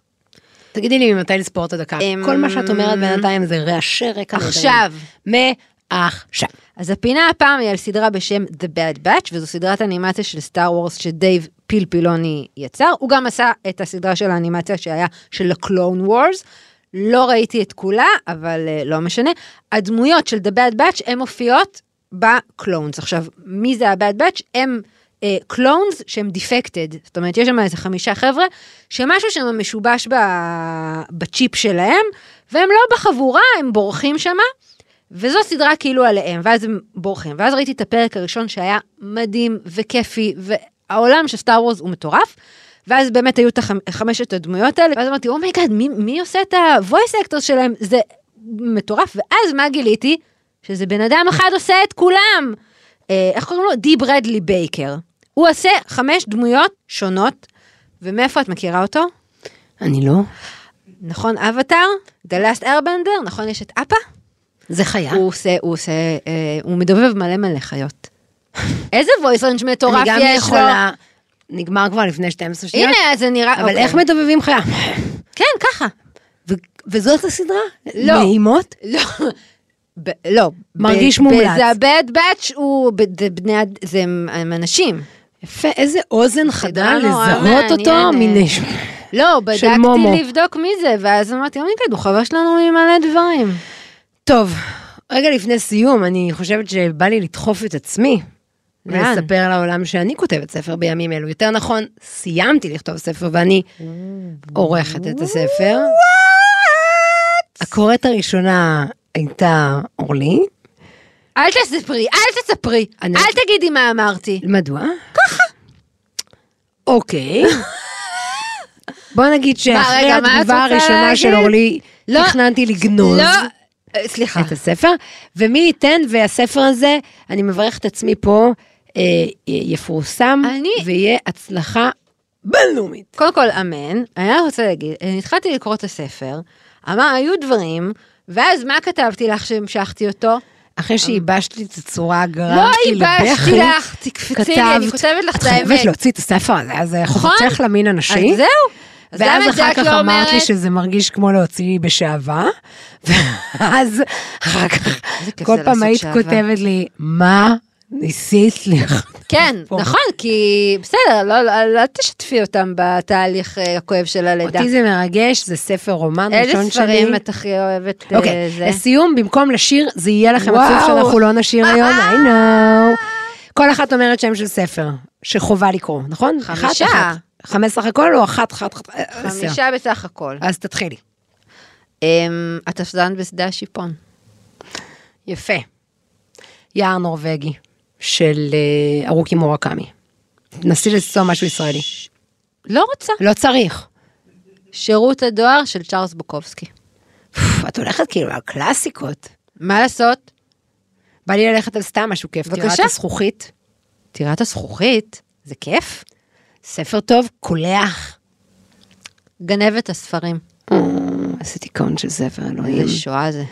Speaker 2: תגידי לי ממתי לספור את הדקה.
Speaker 3: אמ,
Speaker 2: כל מה שאת אומרת בינתיים זה רעשי רקע.
Speaker 3: עכשיו.
Speaker 2: נהדרים. מעכשיו.
Speaker 3: אז הפינה הפעם היא על סדרה בשם The Bad Batch, וזו סדרת אנימציה של סטאר וורס שדייב פילפילוני יצר. הוא גם עשה את הסדרה של האנימציה שהיה של הקלון וורס. לא ראיתי את כולה, אבל uh, לא משנה. הדמויות של The Bad Batch הן מופיעות בקלונס. עכשיו, מי זה ה-Bad Batch? הם אה, קלונס שהם דיפקטד. זאת אומרת, יש שם איזה חמישה חבר'ה, שמשהו שם משובש ב... בצ'יפ שלהם, והם לא בחבורה, הם בורחים שמה. וזו סדרה כאילו עליהם, ואז הם בורחים. ואז ראיתי את הפרק הראשון שהיה מדהים וכיפי, והעולם של סטאר וורס הוא מטורף. ואז באמת היו את החמ- חמשת הדמויות האלה, ואז אמרתי, אומייגאד, מי, מי עושה את ה-voice actor שלהם? זה מטורף. ואז מה גיליתי? שזה בן אדם אחד עושה את כולם. אה, איך קוראים לו? די ברדלי בייקר. הוא עושה חמש דמויות שונות, ומאיפה את מכירה אותו?
Speaker 2: אני לא.
Speaker 3: נכון, אבטאר? The Last Airbender? נכון, יש את אפה?
Speaker 2: זה חיה.
Speaker 3: הוא עושה, הוא עושה, אה, הוא מדובב מלא מלא חיות. איזה voice range מטורף
Speaker 2: אני גם
Speaker 3: יש לו.
Speaker 2: יכולה... נגמר כבר לפני 12 שניות.
Speaker 3: הנה, אז זה נראה...
Speaker 2: אבל
Speaker 3: אוקיי.
Speaker 2: איך מדובבים חיה?
Speaker 3: כן, ככה.
Speaker 2: ו- וזאת הסדרה?
Speaker 3: לא.
Speaker 2: נעימות?
Speaker 3: לא. ב- לא.
Speaker 2: מרגיש
Speaker 3: ב-
Speaker 2: מומלץ.
Speaker 3: זה ה-bad batch הוא, ב- זה בני... אד- זה הם- הם אנשים.
Speaker 2: יפה, איזה אוזן חדה
Speaker 3: נורא
Speaker 2: לזהות אותו
Speaker 3: מעניינת.
Speaker 2: מנשמה.
Speaker 3: לא, בדקתי
Speaker 2: מומו.
Speaker 3: לבדוק מי זה, ואז אמרתי, אומייגד, הוא חבר שלנו ממלא דברים.
Speaker 2: טוב, רגע לפני סיום, אני חושבת שבא לי לדחוף את עצמי.
Speaker 3: לאן?
Speaker 2: ולספר לעולם שאני כותבת ספר בימים אלו. יותר נכון, סיימתי לכתוב ספר ואני עורכת את הספר. הקוראת הראשונה הייתה אורלי.
Speaker 3: אל תספרי, אל תספרי,
Speaker 2: אני-
Speaker 3: אל תגידי מה אמרתי.
Speaker 2: מדוע? ככה. אוקיי. בוא נגיד
Speaker 3: מה,
Speaker 2: שאחרי
Speaker 3: רגע, מה את
Speaker 2: התגובה
Speaker 3: רוצה
Speaker 2: הראשונה של
Speaker 3: להגיד?
Speaker 2: אורלי,
Speaker 3: לא.
Speaker 2: תכננתי לגנוז.
Speaker 3: לא, אה, סליחה.
Speaker 2: את הספר, ומי ייתן והספר הזה, אני מברכת עצמי פה, אה, יפורסם,
Speaker 3: אני-
Speaker 2: ויהיה הצלחה בינלאומית.
Speaker 3: קודם כל, אמן. אני רק רוצה להגיד, אני התחלתי לקרוא את הספר, אמר, היו דברים, ואז מה כתבתי לך שהמשכתי אותו?
Speaker 2: אחרי שייבשת לי את הצורה,
Speaker 3: אה. לא
Speaker 2: גרמת לי לבכי,
Speaker 3: ייבשתי לך, תקפצי לי, אני כותבת לך את
Speaker 2: את חייבת
Speaker 3: האמת.
Speaker 2: להוציא את הספר הזה, אז זה
Speaker 3: נכון?
Speaker 2: חובתך למין
Speaker 3: אז
Speaker 2: הנשי.
Speaker 3: זהו. אז
Speaker 2: ואז
Speaker 3: גם את זה
Speaker 2: אחר
Speaker 3: את
Speaker 2: כך
Speaker 3: לא
Speaker 2: אמרת לי
Speaker 3: אומרת.
Speaker 2: שזה מרגיש כמו להוציא בשעווה, ואז אחר כך,
Speaker 3: כיף
Speaker 2: כל
Speaker 3: זה
Speaker 2: פעם
Speaker 3: לעשות
Speaker 2: היית
Speaker 3: שעווה.
Speaker 2: כותבת לי, מה ניסית לכתוב
Speaker 3: כן,
Speaker 2: פה?"
Speaker 3: נכון, כי בסדר, לא- לא לא תשתפי אותם בתהליך אה, הכואב של הלידה.
Speaker 2: אותי זה מרגש, זה ספר רומן
Speaker 3: איזה
Speaker 2: ראשון שלי.
Speaker 3: ספרים את הכי אוהבת אה,
Speaker 2: אוקיי,
Speaker 3: זה?
Speaker 2: לסיום, במקום לשיר, זה יהיה לכם
Speaker 3: וואו.
Speaker 2: עצוב שאנחנו לא נשיר היום, I know. כל אחת אומרת שם של ספר, שחובה לקרוא, נכון? אחת,
Speaker 3: חמישה.
Speaker 2: אחת. חמש סך הכל או אחת, אחת, אחת, עשר?
Speaker 3: חמישה בסך הכל.
Speaker 2: אז תתחילי.
Speaker 3: אמ, התפזרן בשדה השיפון.
Speaker 2: יפה. יער נורבגי של אה, ארוכי מורקמי. נסי למצוא משהו ישראלי.
Speaker 3: לא רוצה.
Speaker 2: לא צריך.
Speaker 3: שירות הדואר של צ'ארלס בוקובסקי.
Speaker 2: פוף, את הולכת כאילו על קלאסיקות.
Speaker 3: מה לעשות?
Speaker 2: בא לי ללכת על סתם משהו כיף.
Speaker 3: בבקשה.
Speaker 2: טירת הזכוכית,
Speaker 3: טירת הזכוכית, זה כיף.
Speaker 2: ספר טוב, קולח.
Speaker 3: גנבת הספרים.
Speaker 2: אה, איזה דיכאון של ספר, אלוהים.
Speaker 3: איזה שואה זה.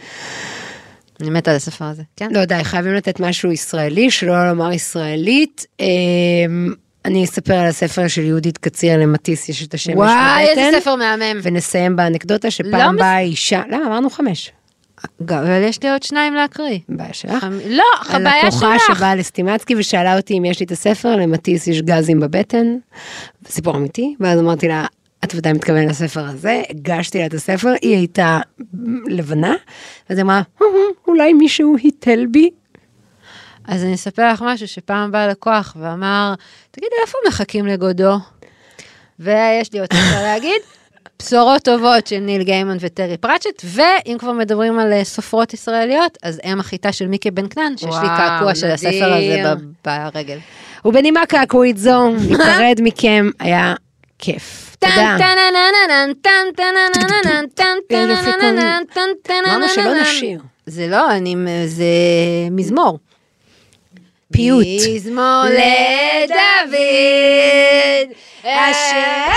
Speaker 3: אני מתה על הספר הזה. כן?
Speaker 2: לא, די, חייבים לתת משהו ישראלי, שלא לומר ישראלית. אמ, אה, אני אספר על הספר של יהודית קציר למטיס, יש את השמש
Speaker 3: וואי,
Speaker 2: בבטן.
Speaker 3: איזה ספר מהמם.
Speaker 2: ונסיים באנקדוטה
Speaker 3: לא
Speaker 2: שפעם
Speaker 3: מס-
Speaker 2: באה אישה, למה אמרנו חמש?
Speaker 3: גם- אבל יש לי עוד שניים להקריא.
Speaker 2: בעיה שלך.
Speaker 3: חמ- לא, הבעיה
Speaker 2: הלקוחה
Speaker 3: שלך.
Speaker 2: שבאה לסטימצקי ושאלה אותי אם יש לי את הספר, למטיס יש גזים בבטן, סיפור אמיתי, ואז אמרתי לה, את ודאי מתכוונת לספר הזה, הגשתי לה את הספר, היא הייתה לבנה, אז היא אמרה, "הו, הו, אולי מישהו היטל בי.
Speaker 3: אז אני אספר לך משהו שפעם בא לקוח ואמר, תגידי, איפה מחכים לגודו? ויש לי עוד ספר להגיד, בשורות טובות של ניל גיימן וטרי פרצ'ט, ואם כבר מדברים על אה, סופרות ישראליות, אז אם החיטה של מיקי בן כנען, שיש לי
Speaker 2: וואו,
Speaker 3: קעקוע של הספר הזה
Speaker 2: נדיר.
Speaker 3: ב- ברגל.
Speaker 2: ובנימה קעקועית זו, להיפרד מכם היה כיף. תודה. אמרנו שלא נשיר.
Speaker 3: זה לא, אני, זה מזמור.
Speaker 2: פיוט.
Speaker 3: מזמור לדוד, אשר...